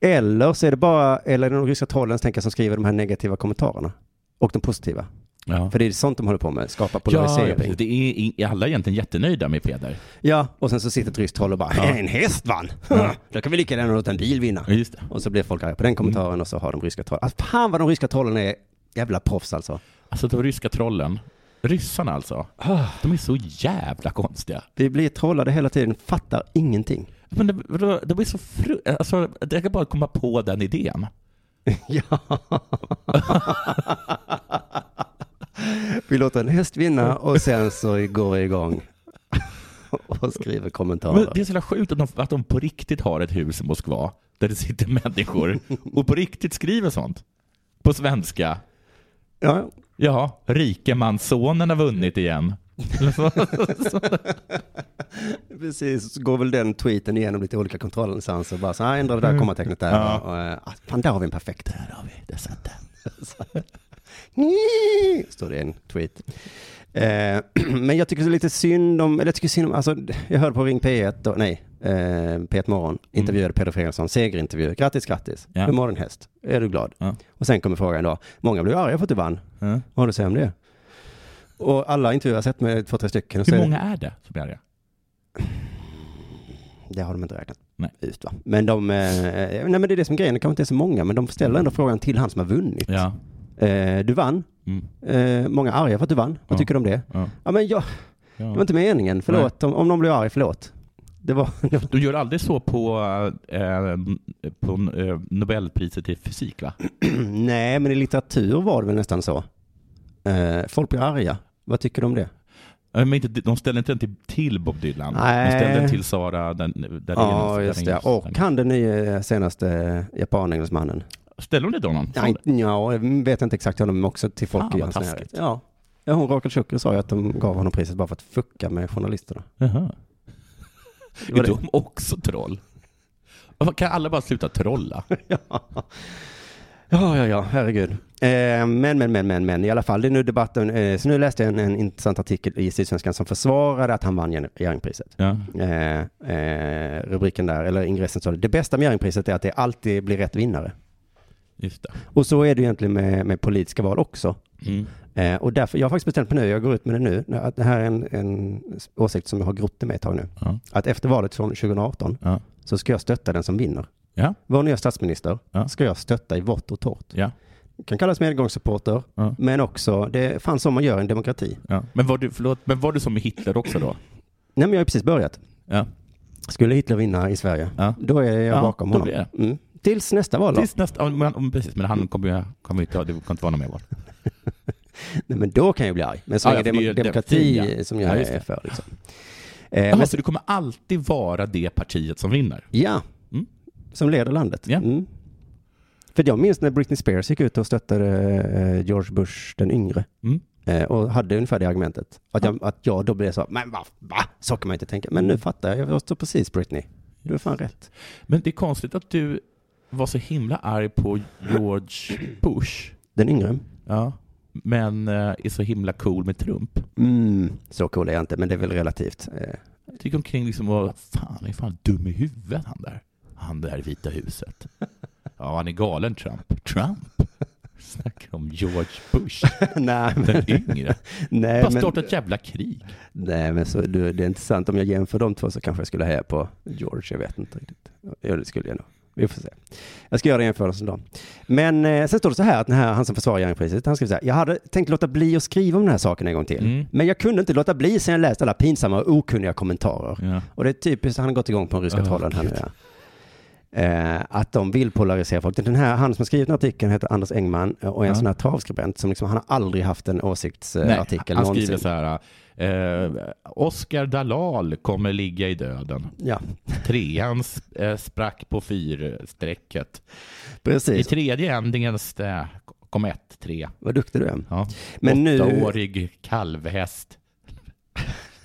Eller så är det bara, eller är det de ryska trollen tänker jag, som skriver de här negativa kommentarerna. Och de positiva.
Ja.
För det är sånt de håller på med, skapa
Ja,
polarisering.
ja, precis. det är, i- alla är egentligen jättenöjda med Peder.
Ja, och sen så sitter ett ryskt troll och bara
Ja. Mm.
en häst vann. Då kan vi lika gärna låta en bil vinna.
Ja, just det.
Och så blir folk arga på den
Mm.
kommentaren och så har de ryska trollen. Alltså, fan vad de ryska trollen är jävla proffs alltså.
Alltså de ryska trollen, ryssarna alltså, de är så jävla konstiga.
Vi blir trollade hela tiden, fattar ingenting.
Men det, det, det blir så fru... Alltså, jag kan bara komma på den idén.
Ja. Vi låter en häst vinna och sen så går vi igång och skriver
Men
kommentarer.
det är så jävla sjukt att de, att de på riktigt har ett hus i Moskva där det sitter människor och på riktigt skriver sånt. På svenska.
Ja,
Ja, rikemanssonen har vunnit igen.
precis. Så går väl den tweeten igenom lite olika kontrollinstanser. Bara så här, ändra det där kommatecknet där.
Mm. Ja.
Och, eh, ah, fan, där har vi en perfekt.
Där har vi, där satt den.
Nyi, Står det i en tweet. Eh, men jag tycker det är lite synd om, eller jag tycker synd om, alltså jag hörde på Ring P1, då, nej, eh, P1 Morgon, intervjuade Peder Fredriksson, segerintervju, grattis, grattis,
Mm. Ja.
hur mår din häst, är du glad?
Ja.
Och sen kommer frågan då, många blev arga för att du vann,
Mm.
vad har du att säga om det? Och alla intervjuer jag sett med två, tre stycken, och så
Hur
är det-
många är det som är arga?
Det har de inte räknat
Nej.
ut va? Men de, eh, nej men det är det som är grejen, det kanske inte är så många, men de ställer ändå frågan till han som har vunnit.
Ja.
Eh, du vann,
Mm.
eh, många är arga för att du vann, vad
Ja.
tycker du om det?
ja.
Ja men jag, det var
ja.
inte meningen, förlåt, om, om någon blev arg, förlåt. Det var, det var
Du gör aldrig så på, eh, på eh, Nobelpriset i fysik, va?
nej men i litteratur var det väl nästan så. Eh, folk blir arga, vad tycker du om det?
Ja, Men inte, de ställde inte den till, till Bob Dylan.
Nej.
De ställde den till Sara den, Dahlenius.
Ja, just det.
Dahlenius.
Och han den nya senaste japanengelsmannen.
Ställde de det till honom?
Ja, inte- ja, jag vet inte exakt honom, men också till folk
Fan,
i
vad
hans närhet.
taskigt.
Ja. ja, hon Rakel Schucker sa ju att de gav honom priset bara för att fucka med journalisterna.
Jaha.
var
Är
det.
de också troll? Varför Kan alla bara sluta trolla?
ja. ja, ja, ja, herregud. Eh, men, men, men, men, men, i alla fall, det är nu debatten. Eh, så nu läste jag en, en intressant artikel i Sydsvenskan som försvarade att han vann Gär- Jerringpriset.
Ja.
Eh, eh, rubriken där, eller ingressen står det, det bästa med Jerringpriset är att det alltid blir rätt vinnare.
Just det.
Och så är det ju egentligen med, med politiska val också.
Mm.
Eh, och därför, jag har faktiskt bestämt mig nu, jag går ut med det nu, att det här är en, en åsikt som jag har grott i mig ett tag nu.
Ja.
Att efter valet från 2018
Ja.
så ska jag stötta den som vinner.
Ja.
Vår nya statsminister
Ja.
ska jag stötta i vått och torrt.
Ja.
Kan kallas medgångssupporter,
Ja.
men också, det fanns som man gör i en demokrati.
Ja. Men, var du, förlåt, men var du som med Hitler också då?
Nej men jag har ju precis börjat.
Ja.
Skulle Hitler vinna i Sverige,
Ja.
då är jag
Ja,
bakom
då
honom.
blir
Mm. Tills nästa val då.
Tills nästa, ja, men, ja, precis, men han kommer ju kommer ju inte, ha- det kommer inte vara någon mer val.
Nej, men då kan jag bli arg. Men så
Ja,
länge
ja, för
dem-
det är ju
demokrati
demokrati, ja.
som jag
Ja, just
är
det.
för. Liksom. Eh, men-
Jaha, så du kommer alltid vara det partiet som vinner?
Ja,
Mm.
som leder landet.
Ja.
Mm. För jag minns när Britney Spears gick ut och stöttade eh, George Bush den yngre.
Mm.
Eh, och hade ungefär det argumentet. Att jag, att jag då blev så, men va, va? Så kan man inte tänka. Men nu fattar jag, jag står precis Britney. Du har fan rätt.
Men det är konstigt att du var så himla arg på George Bush,
Den yngre.
ja. men eh, är så himla cool med Trump.
Mm. Så cool är jag inte, men det är väl relativt. Eh,
Jag gick omkring liksom och fan, han är fan dum i huvudet han där. Han där i Vita huset. Ja, han är galen Trump. Trump? Snackar om George Bush,
nej, men,
den yngre.
nej,
Bara
Eh, men,
startat ett jävla krig.
nej, men så, du, det är intressant. Om jag jämför de två så kanske jag skulle heja på George. Jag vet inte riktigt. Ja, det skulle jag nog. Vi får se. Jag ska göra jämförelsen då. Men eh, sen står det så här att den här, han som försvarar Jerringpriset, han skrev så här, jag hade tänkt låta bli att skriva om den här saken en gång till.
Mm.
Men jag kunde inte låta bli sen jag läst alla pinsamma och okunniga kommentarer.
Ja.
Och det är typiskt, han har gått igång på den ryska
Åh,
trollen här nu.
Gud.
ja. Eh, att de vill polarisera folk. Den här, han som har skrivit den här artikeln heter Anders Engman eh, och är en
Ja.
sån här travskribent som liksom, han har aldrig haft en
Nej,
åsiktsartikel
han
någonsin.
skriver så här. Eh, Oscar Dalal kommer ligga i döden.
Ja,
Trean sp- eh, sprack på fyrstrecket. I
precis.
tredje ändringen stä- kom ett, tre.
Vad duktig du är.
Ja.
Men nu-
Åttaårig kalvhäst.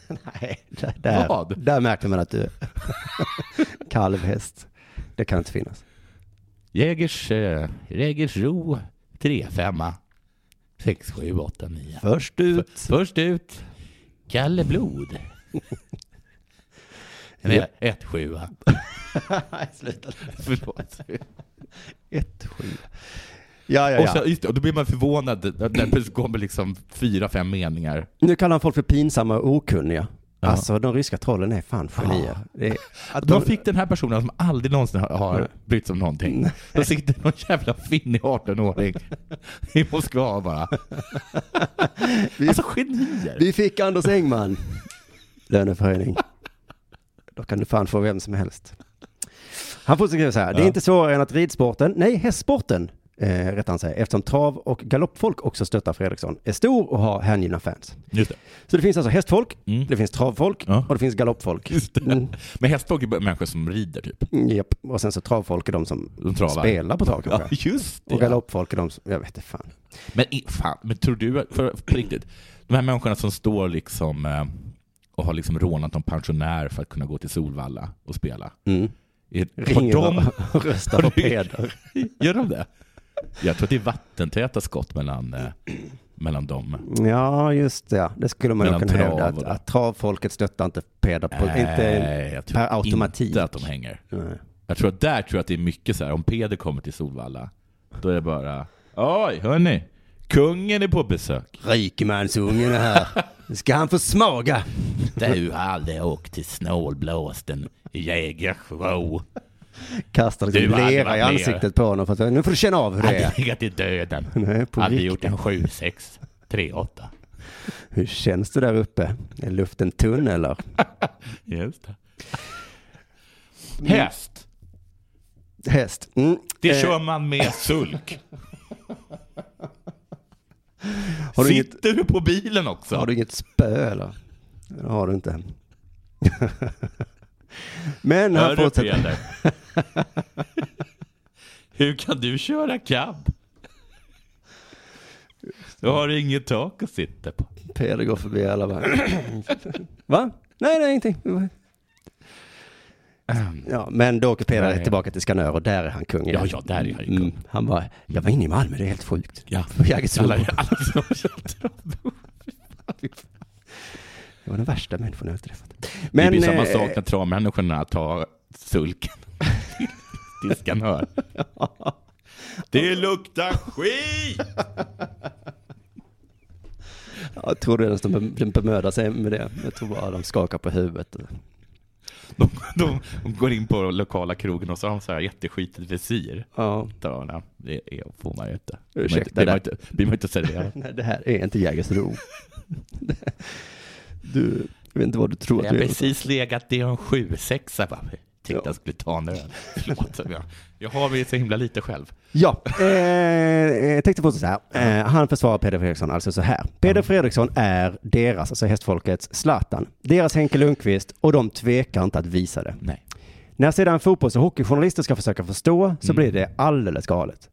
Nej, där, där,
Vad?
där märkte man att du kalvhäst. Det kan inte finnas.
Jägers, eh, Jägersro, trefemma. Sex, sju, åtta, nio.
Först ut.
Först ut, Kalle Blod. Nej,
Ja.
ett, sjua.
Nej, sluta.
Förlåt.
Ett sju. Ja, ja,
Och,
ja.
så, just, det, och då blir man förvånad när det plötsligt kommer liksom fyra, fem meningar.
Nu kallar han folk för pinsamma och okunniga.
Ja.
Alltså, de ryska trollen är fan genier. Det är, att
Då fick den här personen som aldrig någonsin har-
Nej.
har brytt sig om någonting. Då sitter någon jävla finnig 18-åring i Moskva och bara... Alltså genier!
Vi fick Anders Engman. Löneförhöjning. Då kan du fan få vem som helst. Han fortsätter skriva så här. Det är
Ja.
inte svårare än att ridsporten, nej hästsporten, eh, rättare säga, eftersom trav och galoppfolk också stöttar Fredriksson, är stor och har hängivna fans.
Just det.
Så det finns alltså hästfolk,
Mm.
det finns travfolk
Ja.
och det finns galoppfolk.
Just det.
Mm.
Men hästfolk är bara människor som rider typ.
Mm, Japp, och sen så travfolk är de som
De travar.
spelar på trav
Ja,
kanske.
just det.
Och galoppfolk är de som, jag vet inte fan.
Men, i- fan, men tror du, att- för, på riktigt, de här människorna som står liksom eh, och har liksom rånat en pensionär för att kunna gå till Solvalla och spela.
Mm.
Är, har
Ringer
de,
och- och röstar
har
på
du-
Peder.
gör de det? Jag tror att det är vattentäta skott mellan, eh, mellan dem.
Ja, just det. ja. Det skulle man ju
Mellan
kunna
trav
hävda.
och
Att,
det.
att travfolket stöttar inte Peder på, inte
Nej, Eh, jag tror
per automatik.
inte att de hänger.
Nej.
Jag tror att där tror jag att det är mycket så här, om Peder kommer till Solvalla, då är det bara Oj, hörni, kungen är på besök.
Rikemansungen är här. Ska han få smaga?
Du har aldrig åkt till snålblåsten i Jägersro.
Kastar liksom
Du hade
lera
varit
i
med.
ansiktet på honom. För att, nu får du känna av hur det är.
Aldrig legat i döden.
Nej, på
Aldrig
riktigt.
gjort en 7-6, 3-8.
Hur känns det där uppe? Är luften tunn eller?
Just det. Häst,
Häst. Mm.
det
Eh,
kör man med sulk.
Har du inget-
Sitter du på bilen också?
Har du inget spö eller? Det har du inte. Men
Hör
han
du
fortsätter.
Peder? Hur kan du köra cab? Du har inget tak att sitta på.
Peder går förbi alla bara. Va? Nej, nej, ingenting. Ja, men då åker Peder
Nej.
tillbaka till Skanör och där är han kung. igen. Mm.
Ja, ja, där är han ju kung.
han bara, jag var inne i Malmö, det är helt sjukt.
Ja.
På Jägersro.
Alla, alla som kör trav.
Det var den värsta människan jag har träffat.
det blir samma
eh,
sak när travmänniskorna tar sulken. Diskan hör. Det luktar skit!
Jag tror inte ens de be- de bemödar sig med det. Jag tror bara de skakar på huvudet.
De, de, de går in på lokala krogen och så har de så här jätteskitigt visir.
Ja.
Dörrarna, det är, får man ju inte.
Ursäkta
det blir man
det.
inte, blir man inte serverad.
Nej, det här är inte Jägersro. du, jag vet inte vad du tror att
Jag
du
har
är.
precis legat i en 7-6 bara. Tänkte jag skulle ta en öl. Förlåt, jag, jag har väl så himla lite själv.
Ja, eh, jag tänkte på så här. Eh, han försvarar Peder Fredriksson alltså så här. Peder Fredriksson är deras, alltså hästfolkets, Zlatan. Deras Henke Lundqvist och de tvekar inte att visa det.
Nej.
När sedan fotbolls och hockeyjournalister ska försöka förstå så blir det alldeles galet.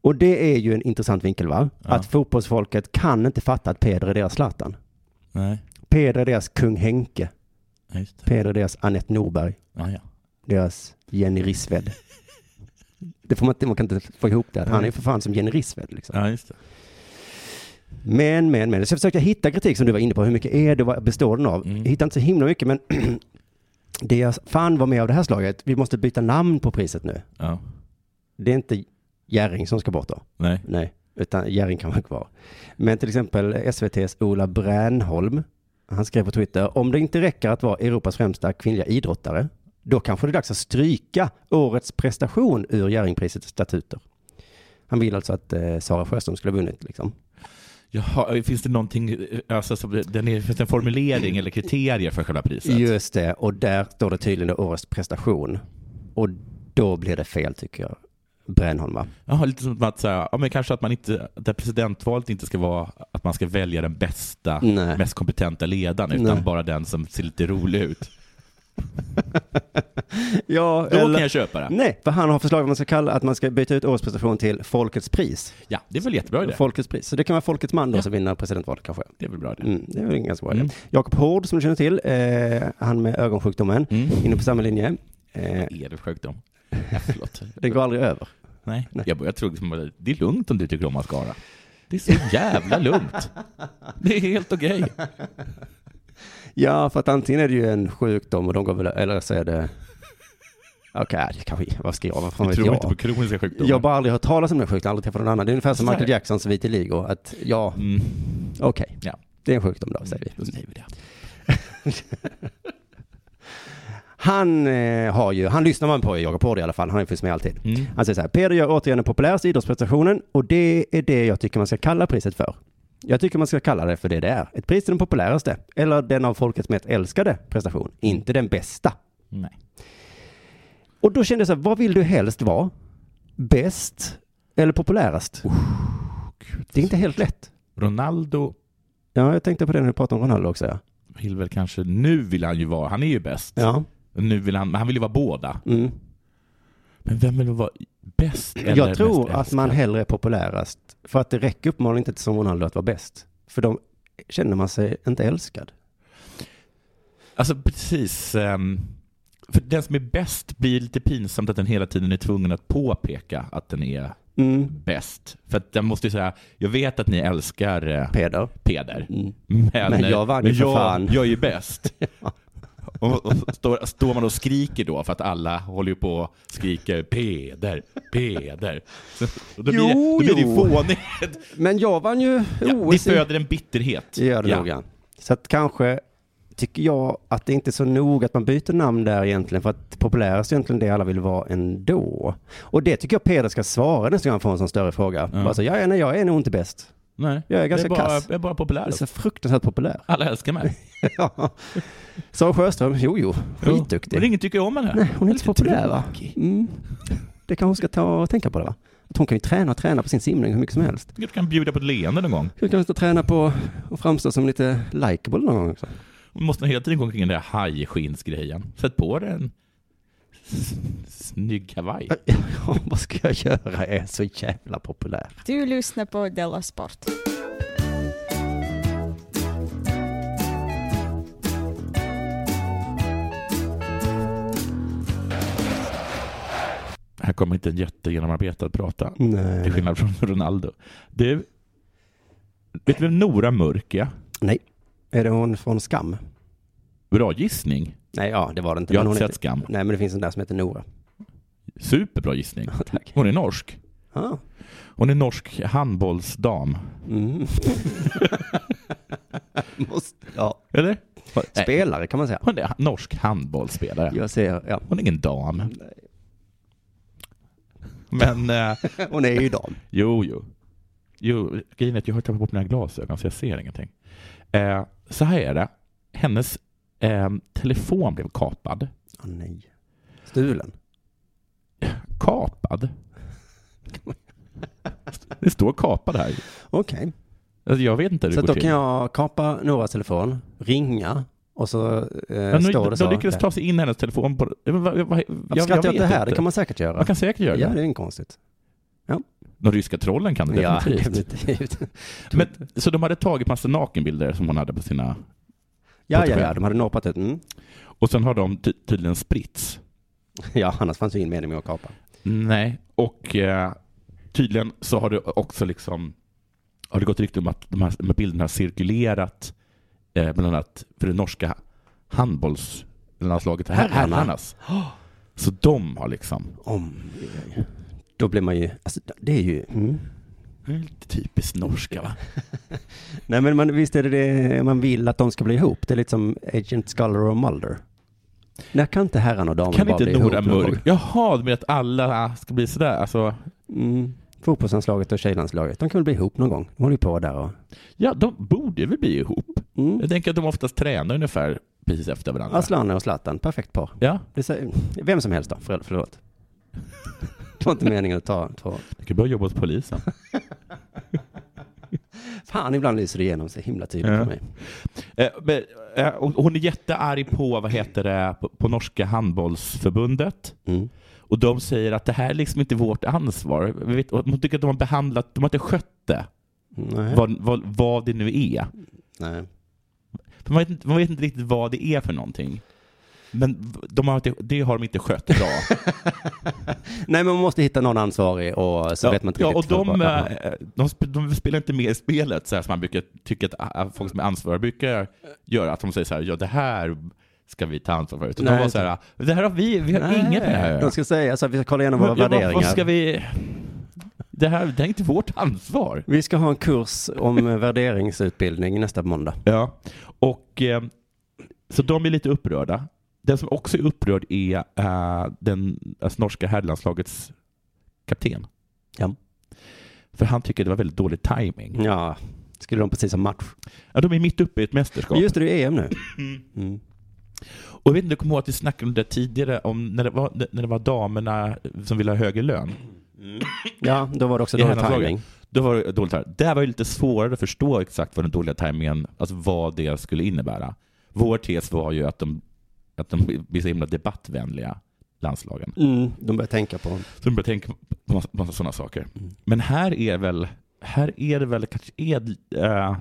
Och det är ju en intressant vinkel va? Att fotbollsfolket kan inte fatta att Peder är deras Zlatan.
Nej,
Peder är deras kung Henke.
Ja, just det.
Peder är deras Anette Norberg.
Ja, ja.
Deras Jenny Rissved. Det får man, inte, man kan inte få ihop det. Han är ju för fan som Jenny Rissved liksom.
Ja, just det.
Men, men, men. Så jag försökte hitta kritik som du var inne på. Hur mycket är det? Vad består den av?
Mm.
Hittade inte så himla mycket, men det jag fan var med av det här slaget, vi måste byta namn på priset nu.
Ja.
Det är inte Jerring som ska bort då.
Nej.
Nej, utan Jerring kan vara kvar. Men till exempel SVTs Ola Bränholm, han skrev på Twitter, om det inte räcker att vara Europas främsta kvinnliga idrottare, då kanske det är dags att stryka årets prestation ur Jerringprisets statuter. Han vill alltså att eh, Sara Sjöström skulle ha vunnit liksom.
Jaha, finns det någonting, alltså, som, den är, finns det en formulering eller kriterier för själva priset?
Just det, och där står det tydligen då årets prestation. Och då blir det fel tycker jag. Brännholm va?
Jaha, lite som att säga, ja, men kanske att man inte, att det här presidentvalet inte ska vara att man ska välja den bästa,
Nej.
mest kompetenta ledaren, utan
Nej.
bara den som ser lite rolig ut.
Ja,
Då kan jag köpa det.
Nej, för han har förslag att man ska kalla att man ska byta ut årets prestation till Folkets pris.
Ja, det är väl jättebra idé.
Folkets pris. Så det kan vara Folkets man då som vinner presidentvalet kanske.
Det är väl bra idé.
Mm, det är väl en ganska bra idé.
Mm.
Jakob Hård som du känner till, eh, han med ögonsjukdomen,
Mm.
inne på samma linje. Eh,
Är det sjukdom? Ja, förlåt.
det går aldrig över.
Nej. Jag börjar tro liksom att det är lugnt om du tycker om mascara. Det är så jävla lugnt. Det är helt okej.
Ja, för att antingen är det ju en sjukdom och de går väl, eller så är det... Okej, det kanske, vad ska jag, vad fan
Jag
vet
tror inte på
jag?
kroniska sjukdomar.
Jag har bara aldrig hört talas om den sjukdomen, aldrig träffat någon annan. Det är ungefär som
Så här.
Michael Jacksons Vita Ligo, att ja,
Mm.
okej,
Ja.
det är en sjukdom då, säger vi.
Då säger vi det.
Han eh, har ju, han lyssnar man på i Jakob Hård i alla fall, han finns med alltid.
Mm.
Han säger så här, Peder gör återigen den populäraste idrottsprestationen och det är det jag tycker man ska kalla priset för. Jag tycker man ska kalla det för det det är. Ett pris till den populäraste, eller den av folket mest älskade prestation, inte den bästa.
Nej.
Och då kände jag så här, vad vill du helst vara? Bäst Eller populärast? det är inte helt lätt.
Ronaldo
Ja, jag tänkte på det när du pratade om Ronaldo också. Ja.
vill väl kanske, nu vill han ju vara, han är ju bäst.
ja.
Nu vill han, men han vill ju vara båda.
Mm.
Men vem vill vara bäst? Eller
Jag tror
mest
att man hellre är populärast. För att det räcker uppenbarligen inte till som Ronaldo att vara bäst. För de känner man sig inte älskad.
Alltså precis. ehm, För den som är bäst blir lite pinsamt att den hela tiden är tvungen att påpeka att den är
Mm.
bäst. För att den måste ju säga, jag vet att ni älskar eh,
Peder.
Peder,
Mm.
men,
Men jag vann ju
men
för
jag,
fan."
jag är ju bäst. Och, och står, står man och skriker då för att alla håller ju på och skriker Peder, Peder. Så, och då blir, det-
Jo,
då blir det ju
jo.
fånigt.
Men jag vann ju
Ja, det
OS. i-
föder en bitterhet.
Det gör det nog, ja. Så att kanske tycker jag att det inte är så nog att man byter namn där egentligen. För att populärast är egentligen det alla vill vara ändå. Och det tycker jag Peder ska svara nästa gång han får en sån större fråga. Bara så, ja, ja, nej, jag är nog inte bäst.
Nej,
Jag är ganska
jag bara,
kass.
Jag är bara populär.
Jag är så fruktansvärt populär.
Alla älskar mig.
Ja. Sara Sjöström, jo jo,
Men
skitduktig.
ingen tycker om henne.
Nej, hon är inte så
Lite
populär va?
tråkig.
Mm. Det kanske hon ska ta och tänka på det va? Att hon kan ju träna och träna på sin simning hur mycket som helst.
Du kan bjuda på ett leende någon gång.
Hon kan ju träna på att framstå som lite likeable någon gång också.
Hon måste hela tiden gå omkring i den där hajskinnsgrejen. Sätt på dig en s- snygg kavaj.
Ja, vad ska jag göra? Jag är så jävla populär.
Du lyssnar på Della Sport.
Här kommer inte en jättegenomarbetad prata. Till
Nej.
skillnad från Ronaldo. Du, vet du vem Nora Mörk är?
Nej. Är det hon från Skam?
Bra gissning.
Nej, ja det var det inte.
Jag
Men
har
hon
inte
heter-
sett Skam.
Nej, men det finns en där som heter Nora.
Superbra gissning.
Tack.
Hon är norsk.
Ah.
Hon är norsk handbollsdam.
Mm. Måste, ja.
Eller? Nej,
Spelare kan man säga.
Hon är norsk handbollsspelare.
Jag ser, ja.
Hon är ingen dam. Men, eh,
Hon är ju dam.
jo, jo. Jo, grejen är att jag har tappat bort mina glasögon så jag ser ingenting. Eh, så här är det. Hennes eh, telefon blev kapad.
Åh nej. Stulen.
Kapad? Det står kapad här.
Okej.
Alltså, jag vet inte hur
Så
det
att
går
då kan
till.
jag kapa Noras telefon, ringa och så eh,
Men nu,
står det så.
de lyckades ta sig in i hennes telefon. På, jag, jag, jag,
Varför
jag,
skrattar jag
vet
åt det här?
inte.
Det kan man säkert göra.
Man kan säkert göra
ja,
det.
det är inte konstigt.
De ryska trollen kan det
Ja,
definitivt.
definitivt.
Men, så de hade tagit massa nakenbilder som hon hade på sina...
Ja, ja,
Portugal.
ja, de hade norpat ut. Mm.
Och sen har de ty tydligen spritts.
Ja, annars fanns ju ingen mening med att kapa.
Nej. Och eh, tydligen så har det också liksom... Har det gått rykte om att de här, de här bilderna har cirkulerat eh, bland annat för det norska handbollslandslaget här-
Herrarna.
herrarnas. Så de har liksom...
Om. Då blir man ju, alltså det är ju, mm.
Det är Lite typiskt norska va?
Nej men man, visst är det det man vill att de ska bli ihop? Det är lite som Agent Sculler och Mulder. När kan inte herrarna och damerna
Kan
bara
inte
bli ihop?
Nora
någon gång?
Mörk... Jaha, du menar att alla ska bli sådär? Alltså,
Mm. Fotbollslandslaget och tjejlandslaget, de kan väl bli ihop någon gång? De håller ju på där och...
ja, de borde väl bli ihop?
Mm.
Jag tänker att de oftast tränar ungefär precis efter varandra.
Aslan och Zlatan, perfekt par.
Ja,
Det säger, vem som helst då, för, förlåt. Det var inte meningen att ta två.
jag kan börja jobba hos polisen.
Fan, ibland lyser det igenom så himla tydligt
Ja.
för mig.
eh, men, eh, och hon är jättearg på, vad heter det, på, på norska handbollsförbundet.
Mm.
Och de säger att det här är liksom inte vårt ansvar. Vi Vet, och de tycker att de har behandlat, de har inte skött det.
Nej.
Vad, vad, vad det nu är.
Nej.
För man, vet, inte- man vet inte riktigt vad det är för någonting. Men de har inte, det har de inte skött bra.
Nej, men man måste hitta någon ansvarig och så vet man inte
ja, och
riktigt
de,
vad- vad-
eh, de, sp- de spelar inte med i spelet så här som man brukar tycka att ah, folk som är ansvariga brukar göra. Att de säger så här, ja det här ska vi ta ansvar för. Utan de
Nej,
var så här, "Ah, det här har vi, vi har inget med det här att
De
göra."
ska säga så att vi ska kolla igenom våra
Ja, vad-
värderingar.
Vad ska vi... Det här det här är inte vårt ansvar.
vi ska ha en kurs om eh, värderingsutbildning nästa måndag.
Ja. Och, eh, så de är lite upprörda. Den som också är upprörd är eh, den alltså, norska herrlandslagets kapten.
Ja.
För han tycker det var väldigt dålig timing.
Ja, skulle de precis ha match.
Ja, de är mitt uppe i ett mästerskap.
Just det, det är EM nu. Mm.
Och jag vet inte, du kommer ihåg att vi snackade om det tidigare, om när det var, när det var damerna som ville ha högre lön.
Mm. Ja, då var det också
I
dålig
hennes
timing.
lager. Då var det dåligt här. Det här var ju lite svårare att förstå exakt vad den dåliga tajmingen, alltså vad det skulle innebära. Vår tes var ju att de, att de blir så himla debattvänliga, landslagen.
Mm, de började tänka på.
Så de börjar tänka på massa, massa sådana saker. Men här är väl, här är det väl kanske, är, äh,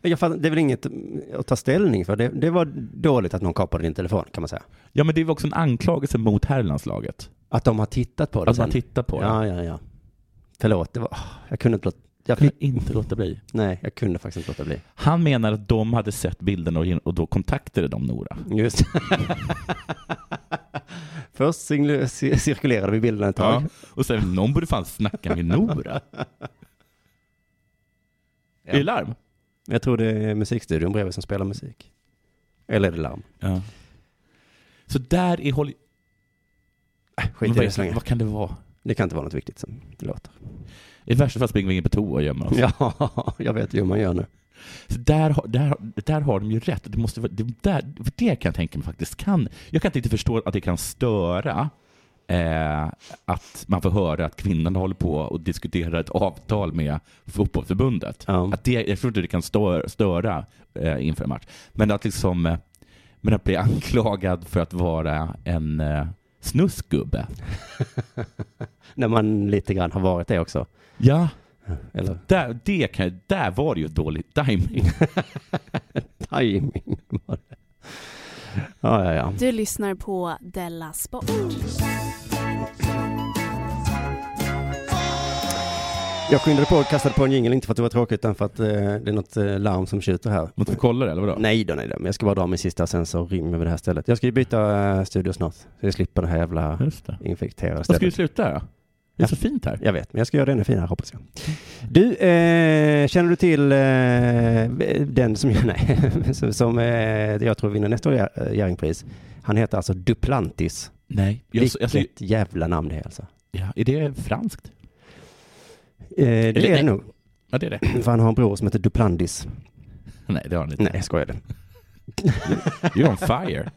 Men jag fattar, det är väl inget mm, att ta ställning för. Det, det var dåligt att någon kapade din telefon kan man säga.
ja men det var också en anklagelse mot herrlandslaget.
Att de har tittat på det
Att man tittar på det.
Ja, ja, ja. Förlåt, det var, åh, jag kunde inte låta, jag
Kan
fick,
jag inte låta bli.
nej, jag kunde faktiskt inte låta bli.
Han menar att de hade sett bilderna och, och då kontaktade de Nora.
Just Först singl- cir- cirkulerade vi bilderna ett tag.
Ja. Och sen, någon borde fan snacka med Nora. Är det larm?
Jag tror det är musikstudion bredvid som spelar musik. Eller är det larm?
Ja. Så där är håll...
Äh,
Men
Skit i
Vad,
det så
är,
länge.
vad kan det vara?
Det kan inte vara något viktigt som låter.
I värsta fall springer vi in på toa och gömmer oss.
Ja, jag vet ju hur man gör nu.
Så där, har- där, har- där har de ju rätt. Det, måste, vara- det, där, för det kan jag tänka mig faktiskt kan... Jag kan inte riktigt förstå att det kan störa eh, att man får höra att kvinnan håller på och diskuterar ett avtal med fotbollförbundet.
Ja.
Mm. Att det, jag tror inte det kan störa, störa eh, inför en match. Men att liksom eh, men att bli anklagad för att vara en eh, snusgubbe.
När man lite grann har varit det också.
Ja,
Eller
där, det kan, där var det ju dålig timing.
timing var det. Ja, ja, ja.
Du lyssnar på Della Sport.
Jag skyndade på och kastade på en jingel, inte för att det var tråkigt, utan för att eh, det är något eh, larm som tjuter här.
Måste vi kolla det eller vadå?
Nej då, nej då, men jag ska bara dra min sista, sen så rymmer vi det här stället. Jag ska ju byta eh, studio snart, så jag slipper det här jävla
Just det.
infekterade
Vad ska vi
stället.
sluta då? Det är så fint här.
Jag vet, men jag ska göra det ännu finare hoppas jag. Du, eh, känner du till eh, den som, nej, som- som eh, jag tror vinner nästa år, Jerringpris? Han heter alltså Duplantis.
Nej. Jag,
Vilket
alltså,
jävla namn det är alltså.
ja, är det franskt?
Eh, det är
Eller-
det nog,
Ja, det är det.
för han har en bror som heter Duplandis.
Nej, det har ni inte.
Nej, jag skojade.
You're on fire.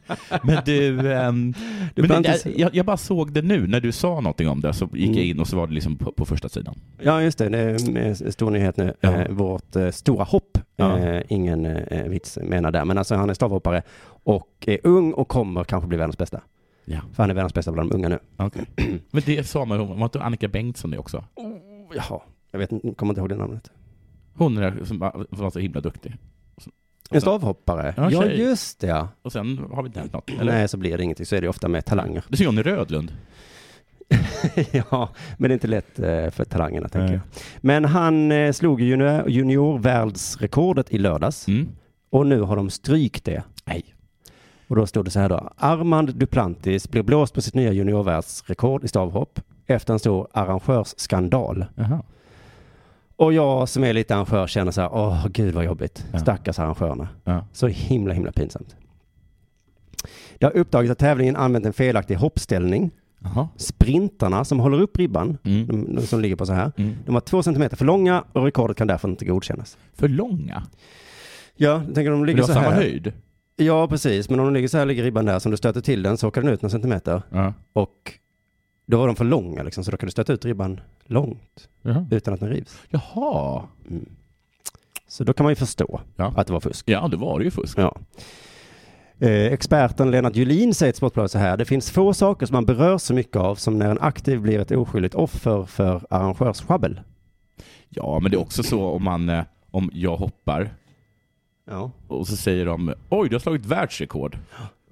Men du, ehm,
Du
men
kan
det,
inte-
jag, jag bara såg det nu när du sa någonting om det så gick
Mm.
jag in och så var det liksom på, på första sidan.
Ja, just det. Det är en eh, stor nyhet nu.
Ja.
Eh, Vårt eh, stora hopp.
Ja.
Eh, Ingen eh, vits menar där. Men alltså han är stavhoppare och är ung och kommer kanske bli världens bästa.
Ja.
För han är världens bästa bland de unga nu.
Okay. Men det sa man ju om, var inte Annika Bengtsson det också?
Jaha, jag vet, inte- kommer inte ihåg det namnet.
Alltså- Hon är där som var var så himla duktig.
En stavhoppare.
Ja,
ja,
tjej.
just det. ja.
Och sen har vi inte hänt något. Eller?
Nej, så blir det ingenting. Så är det ofta med talanger.
Det är Johnny Rödlund.
ja, men det är inte lätt eh, för talangerna, tänker
Nej.
jag. Men han eh, slog junior, juniorvärldsrekordet i lördags.
Mm.
Och nu har de strykt det.
Nej.
Och då stod det så här då. Armand Duplantis blev blåst på sitt nya juniorvärldsrekord i stavhopp efter en stor arrangörsskandal.
Jaha.
Och jag som är lite arrangör känner så här, åh gud vad jobbigt.
Ja.
Stackars arrangörerna.
Ja.
Så himla himla pinsamt. Det har uppdagits att tävlingen använt en felaktig hoppställning.
Jaha.
Sprintarna som håller upp ribban,
Mm.
de, de som ligger på så här,
Mm.
de var två centimeter för långa och rekordet kan därför inte godkännas.
För långa?
Ja, jag tänker de
Det
ligger
var
så
samma
här.
höjd?
Ja, precis. Men om de ligger så här, ligger ribban där, som du stöter till den så åker den ut några centimeter.
Ja.
Och då var de för långa liksom, så då kan du stöta ut ribban långt
Jaha.
utan att den rivs. Mm.
Jaha.
Så då kan man ju förstå
Ja.
att det var fusk.
Ja, det var det ju fusk.
Ja. Eh, experten Lennart Julin säger till Sportbladet så här. Det finns få saker som man berör så mycket av som när en aktiv blir ett oskyldigt offer för arrangörssjabbel.
Ja, men det är också så om man, eh, om jag hoppar
Ja.
och så säger de oj, du har slagit världsrekord.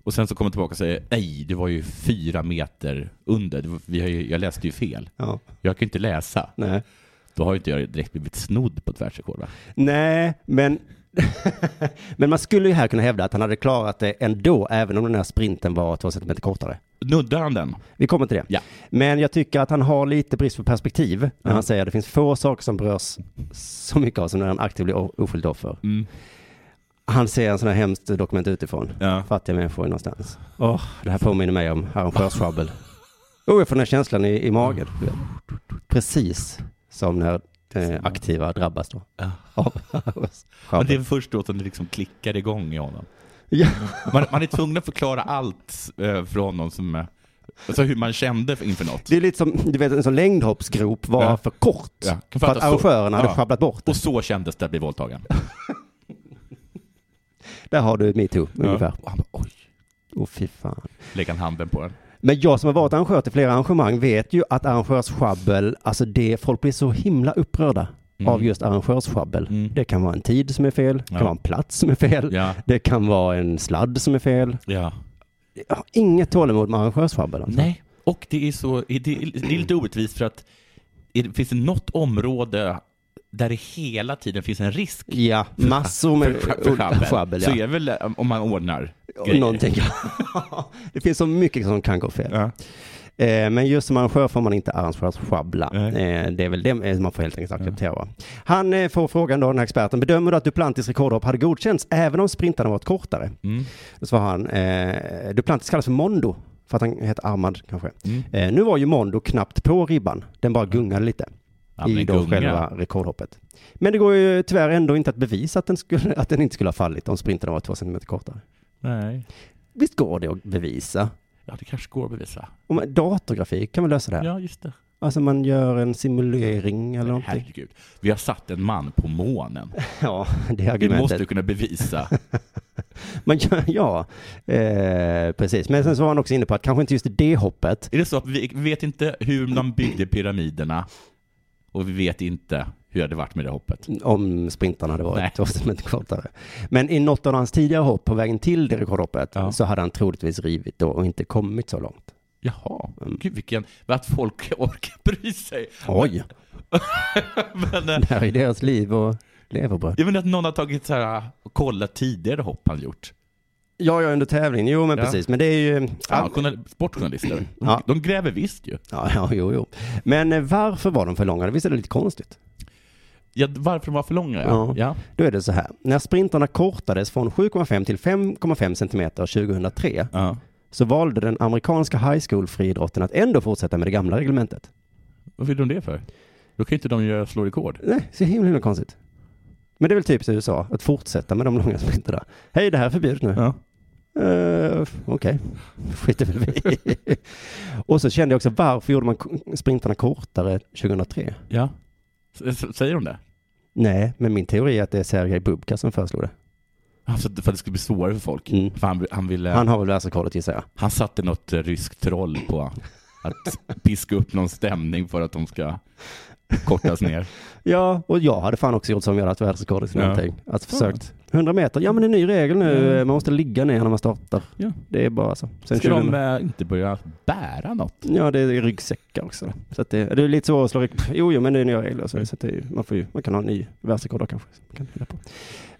Och sen så kommer de tillbaka och säger nej, det var ju fyra meter under. Det var- Vi har ju, jag läste ju fel.
ja.
Jag kan ju inte läsa.
Nej.
Då har ju inte jag direkt blivit snodd på ett världsrekord va?
Nej, men... men man skulle ju här kunna hävda att han hade klarat det ändå, även om den här sprinten var två centimeter kortare.
Nuddar han den?
Vi kommer till det.
Ja.
Men jag tycker att han har lite brist på perspektiv när
Ja.
han säger att det finns få saker som berörs så mycket av som när en aktiv blir o- oskyldigt offer.
Mm.
Han ser en sån här hemskt dokument utifrån.
Ja.
Fattiga människor är någonstans. Det här påminner mig om arrangörssjabbel. Oh, jag får den här känslan i, i magen. Precis som när eh, aktiva drabbas då.
Ja.
Av
Men det
arrangörssjabbel.
är först då som det liksom klickar igång i honom.
Ja.
Man, man är tvungen att förklara allt eh, för honom som eh, Alltså hur man kände inför något.
Det är lite som, du vet en sån längdhoppsgrop var
Ja.
för kort.
Ja.
För att arrangörerna hade sjabblat bort det.
Och så kändes det att bli våldtagen.
Där har du metoo ungefär.
Och han bara, oj,
Åh fy fan.
lägger han handen på den.
Men jag som har varit arrangör till flera arrangemang vet ju att arrangörssjabbel, alltså det, folk blir så himla upprörda
Mm.
av just arrangörssjabbel.
Mm.
Det kan vara en tid som är fel, det
Ja.
kan vara en plats som är fel,
Ja,
det kan vara en sladd som är fel.
ja.
Jag har inget tålamod med arrangörssjabbel. Alltså.
Nej, och det är, så, det, är- det är lite orättvist för att är det, finns det något område där det hela tiden finns en risk
Ja, massor med
för, för sjabbel,
sjabbel.
så
Ja.
är det väl eh, om man ordnar
Och
grejer.
Någonting. det finns så mycket som kan gå fel.
Ja.
Eh, men just som arrangör får man inte arrangörssjabbla.
Nej.
Eh, det är väl det eh, man får helt enkelt acceptera. va? Han eh, får frågan då, den här experten, bedömer du att Duplantis rekordhopp hade godkänts även om sprintarna varit kortare?
Mm.
Då svarar han, eh, Duplantis kallas för Mondo, för att han heter Armand kanske.
Mm.
Eh, nu var ju Mondo knappt på ribban, den bara gungade lite
Ja,
i
men
då
gunga.
själva rekordhoppet. Men det går ju tyvärr ändå inte att bevisa att den, skulle, att den inte skulle ha fallit om sprintarna var två centimeter kortare.
Nej.
Visst går det att bevisa?
Ja, det kanske går att bevisa.
Om, datorgrafik kan man lösa det här.
Ja, just det.
Alltså man gör en simulering eller någonting.
Herregud. Vi har satt en man på månen.
Ja, det är
Vi
argumentet.
måste kunna bevisa.
Men ja, ja eh, precis. Men sen så var han också inne på att kanske inte just det hoppet.
Är det så att vi vet inte hur man byggde pyramiderna och vi vet inte hur det hade varit med det hoppet?
Om sprintarna hade varit
Nej.
två centimeter kortare. Men i något av hans tidigare hopp på vägen till det rekordhoppet
Ja.
så hade han troligtvis rivit då och inte kommit så långt.
Jaha,
Mm.
gud vilken, att folk orkar bry sig.
Oj,
Men, eh,
det här är deras liv och leverbröd.
jag menar att någon har tagit så här och kollat tidigare hopp han gjort.
Ja, ja, under tävling. Jo, men
Ja.
precis. Men det är ju...
Fan, journal- sportjournalister,
Ja.
de gräver visst ju.
Ja, ja, jo, jo. Men eh, varför var de för långa? Visst är det lite konstigt?
Ja, varför de var för långa?
Ja.
Ja. Ja.
Då är det så här. När sprintarna kortades från 7,5 till 5,5 cm 2003
Ja.
så valde den amerikanska high school friidrotten att ändå fortsätta med det gamla reglementet.
Vad vill de det för? Då kan ju inte de göra slå rekord.
Nej, så himla, himla konstigt. Men det är väl typiskt USA att fortsätta med de långa sprintarna. Hej, det här är förbjudet nu.
Ja.
Eh, Okej, skiter väl vi i. Och så kände jag också, varför gjorde man k- sprintarna kortare 2003?
ja. S- s- Säger de det?
Nej, men min teori är att det är Sergej Bubka som föreslog det.
Alltså, för att det skulle bli svårare för folk.
Mm.
För han, han ville...
Han har väl världsrekordet gissar jag.
Han satte något eh, ryskt troll på att piska upp någon stämning för att de ska kortas ner.
Ja, och jag hade fan också gjort som jag hade haft världsrekordet i
Ja.
någonting. Alltså försökt. 100 meter, ja men det är en ny regel nu, man måste ligga ner när man startar.
Ja.
Det är bara så. Sen
Ska
2000
de eh, inte börja bära något?
Ja, det är ryggsäckar också. Så att det, det är lite svårt att slå rygg. Jo, jo, men det är nya regler.
Mm.
Så, så att det, är- man, får ju, man kan ha en ny världsrekord då kanske. som man Kan hitta på.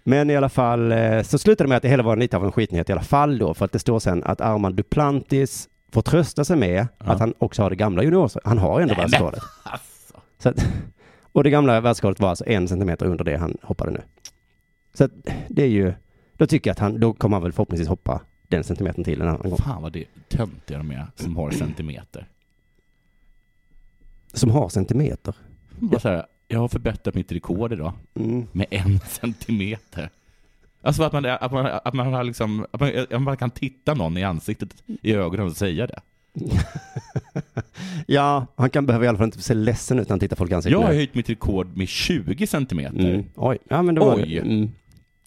Men i alla fall, eh, så slutade det med att det hela var lite av en skitnyhet i alla fall då. För att det står sen att Armand Duplantis får trösta sig med
Ja.
att han också har det gamla junior. Han har ju ändå
Nej, men-
världsrekordet.
Alltså.
Så att, och det gamla världsrekordet var alltså en centimeter under det han hoppade nu. Så att, det är ju, då tycker jag att han, då kommer han väl förhoppningsvis hoppa den centimetern till en annan gång.
Fan vad det är töntiga de är som har centimeter.
Som har centimeter.
Bara så här, jag har förbättrat mitt rekord idag
Mm.
med en centimeter. Alltså att man, att man, att man, har liksom, att man, att man kan titta någon i ansiktet, i ögonen och säga det.
Ja, han kan behöva i alla fall inte se ledsen ut när han tittar folk i ansiktet.
Jag har höjt mitt rekord med 20 centimeter.
mm. Oj, ja men det var
Oj.
Mm.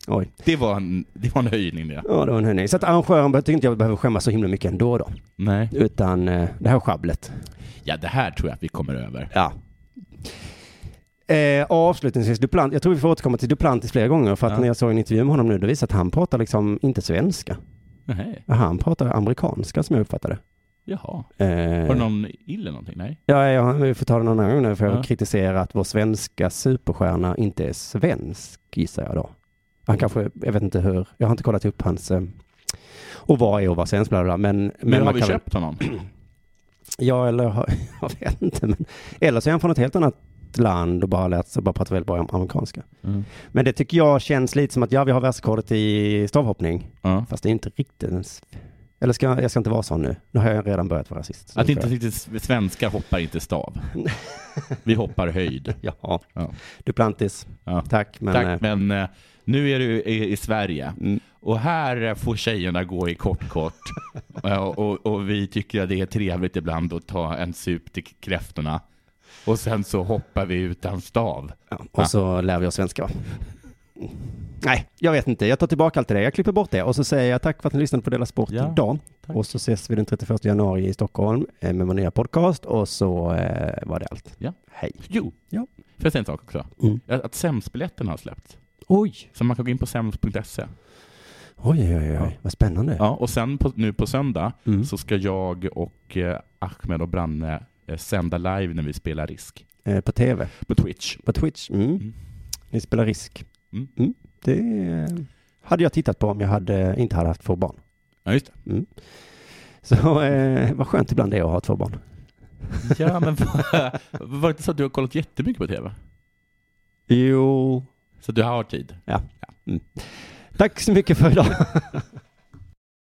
Oj,
Det, var en, det var en höjning det.
ja det var en höjning. Så att arrangören tyckte inte jag behöver skämmas så himla mycket ändå då.
Nej.
Utan eh, det här sjabblet.
Ja, det här tror jag att vi kommer över.
Ja. Eh, avslutningsvis, Duplant, jag tror vi får återkomma till Duplantis flera gånger för att
Ja.
när jag såg en intervju med honom nu, det visade att han pratar liksom inte svenska.
Nej.
Han pratar amerikanska som jag uppfattade
Jaha.
det.
Har du
Eh,
någon ill eller någonting? Nej.
ja, ja, vi får ta det någon annan gång nu för jag
Ja.
kritiserar att vår svenska superstjärna inte är svensk, gissar jag då. Han kanske, jag vet inte hur, jag har inte kollat upp hans eh, och vad är och vad svensk, bla bla, bla men... Men,
Men har
man
vi
kan väl-
köpt honom?
Ja, eller har- jag vet inte. Men, eller så är han från ett helt annat land och bara lärt sig, bara pratar väldigt bra amerikanska.
Mm.
Men det tycker jag känns lite som att ja, vi har världsrekordet i stavhoppning,
Ja.
fast det är inte riktigt ens... Eller ska jag, jag ska inte vara sån nu. Nu har jag redan börjat vara rasist. Så
Att
nu
inte
får
riktigt svenskar hoppar inte stav. Vi hoppar höjd.
jag- Ja,
Ja.
Duplantis.
Ja.
Tack, men... eh,
Tack, men eh, Nu är du i, i Sverige
Mm.
och här får tjejerna gå i kortkort Eh, och, och vi tycker att det är trevligt ibland att ta en sup till kräftorna. Och sen så hoppar vi utan stav.
Ja, och så lär vi oss svenska. va? Nej, jag vet inte. Jag tar tillbaka allt det där. Jag klipper bort det och så säger jag tack för att ni lyssnade på Della Sport
Ja,
idag.
tack.
Och så ses vi den 31 januari i Stockholm eh, med vår nya podcast och så eh, var det allt.
Ja.
Hej.
Jo,
Ja.
får jag säga en sak också?
Mm.
Att att SEMS-biljetterna har släppts.
Oj,
Så man kan gå in på sems.se.
oj, oj, oj.
Ja.
vad spännande.
Ja, E. och sen på, nu på söndag
Mm.
så ska jag och eh, Ahmed och Branne eh, sända live när vi spelar Risk
Eh, på tv,
på Twitch.
på Twitch. Mm.
Mm.
Ni spelar risk.
Mm.
Det eh, hade jag tittat på om jag hade, inte hade haft två barn.
Ja, just det.
Så eh, vad skönt ibland det är att ha två barn.
Ja, men va- var det inte så att du har kollat jättemycket på TV?
Jo,
Så du har tid?
tack så mycket för idag.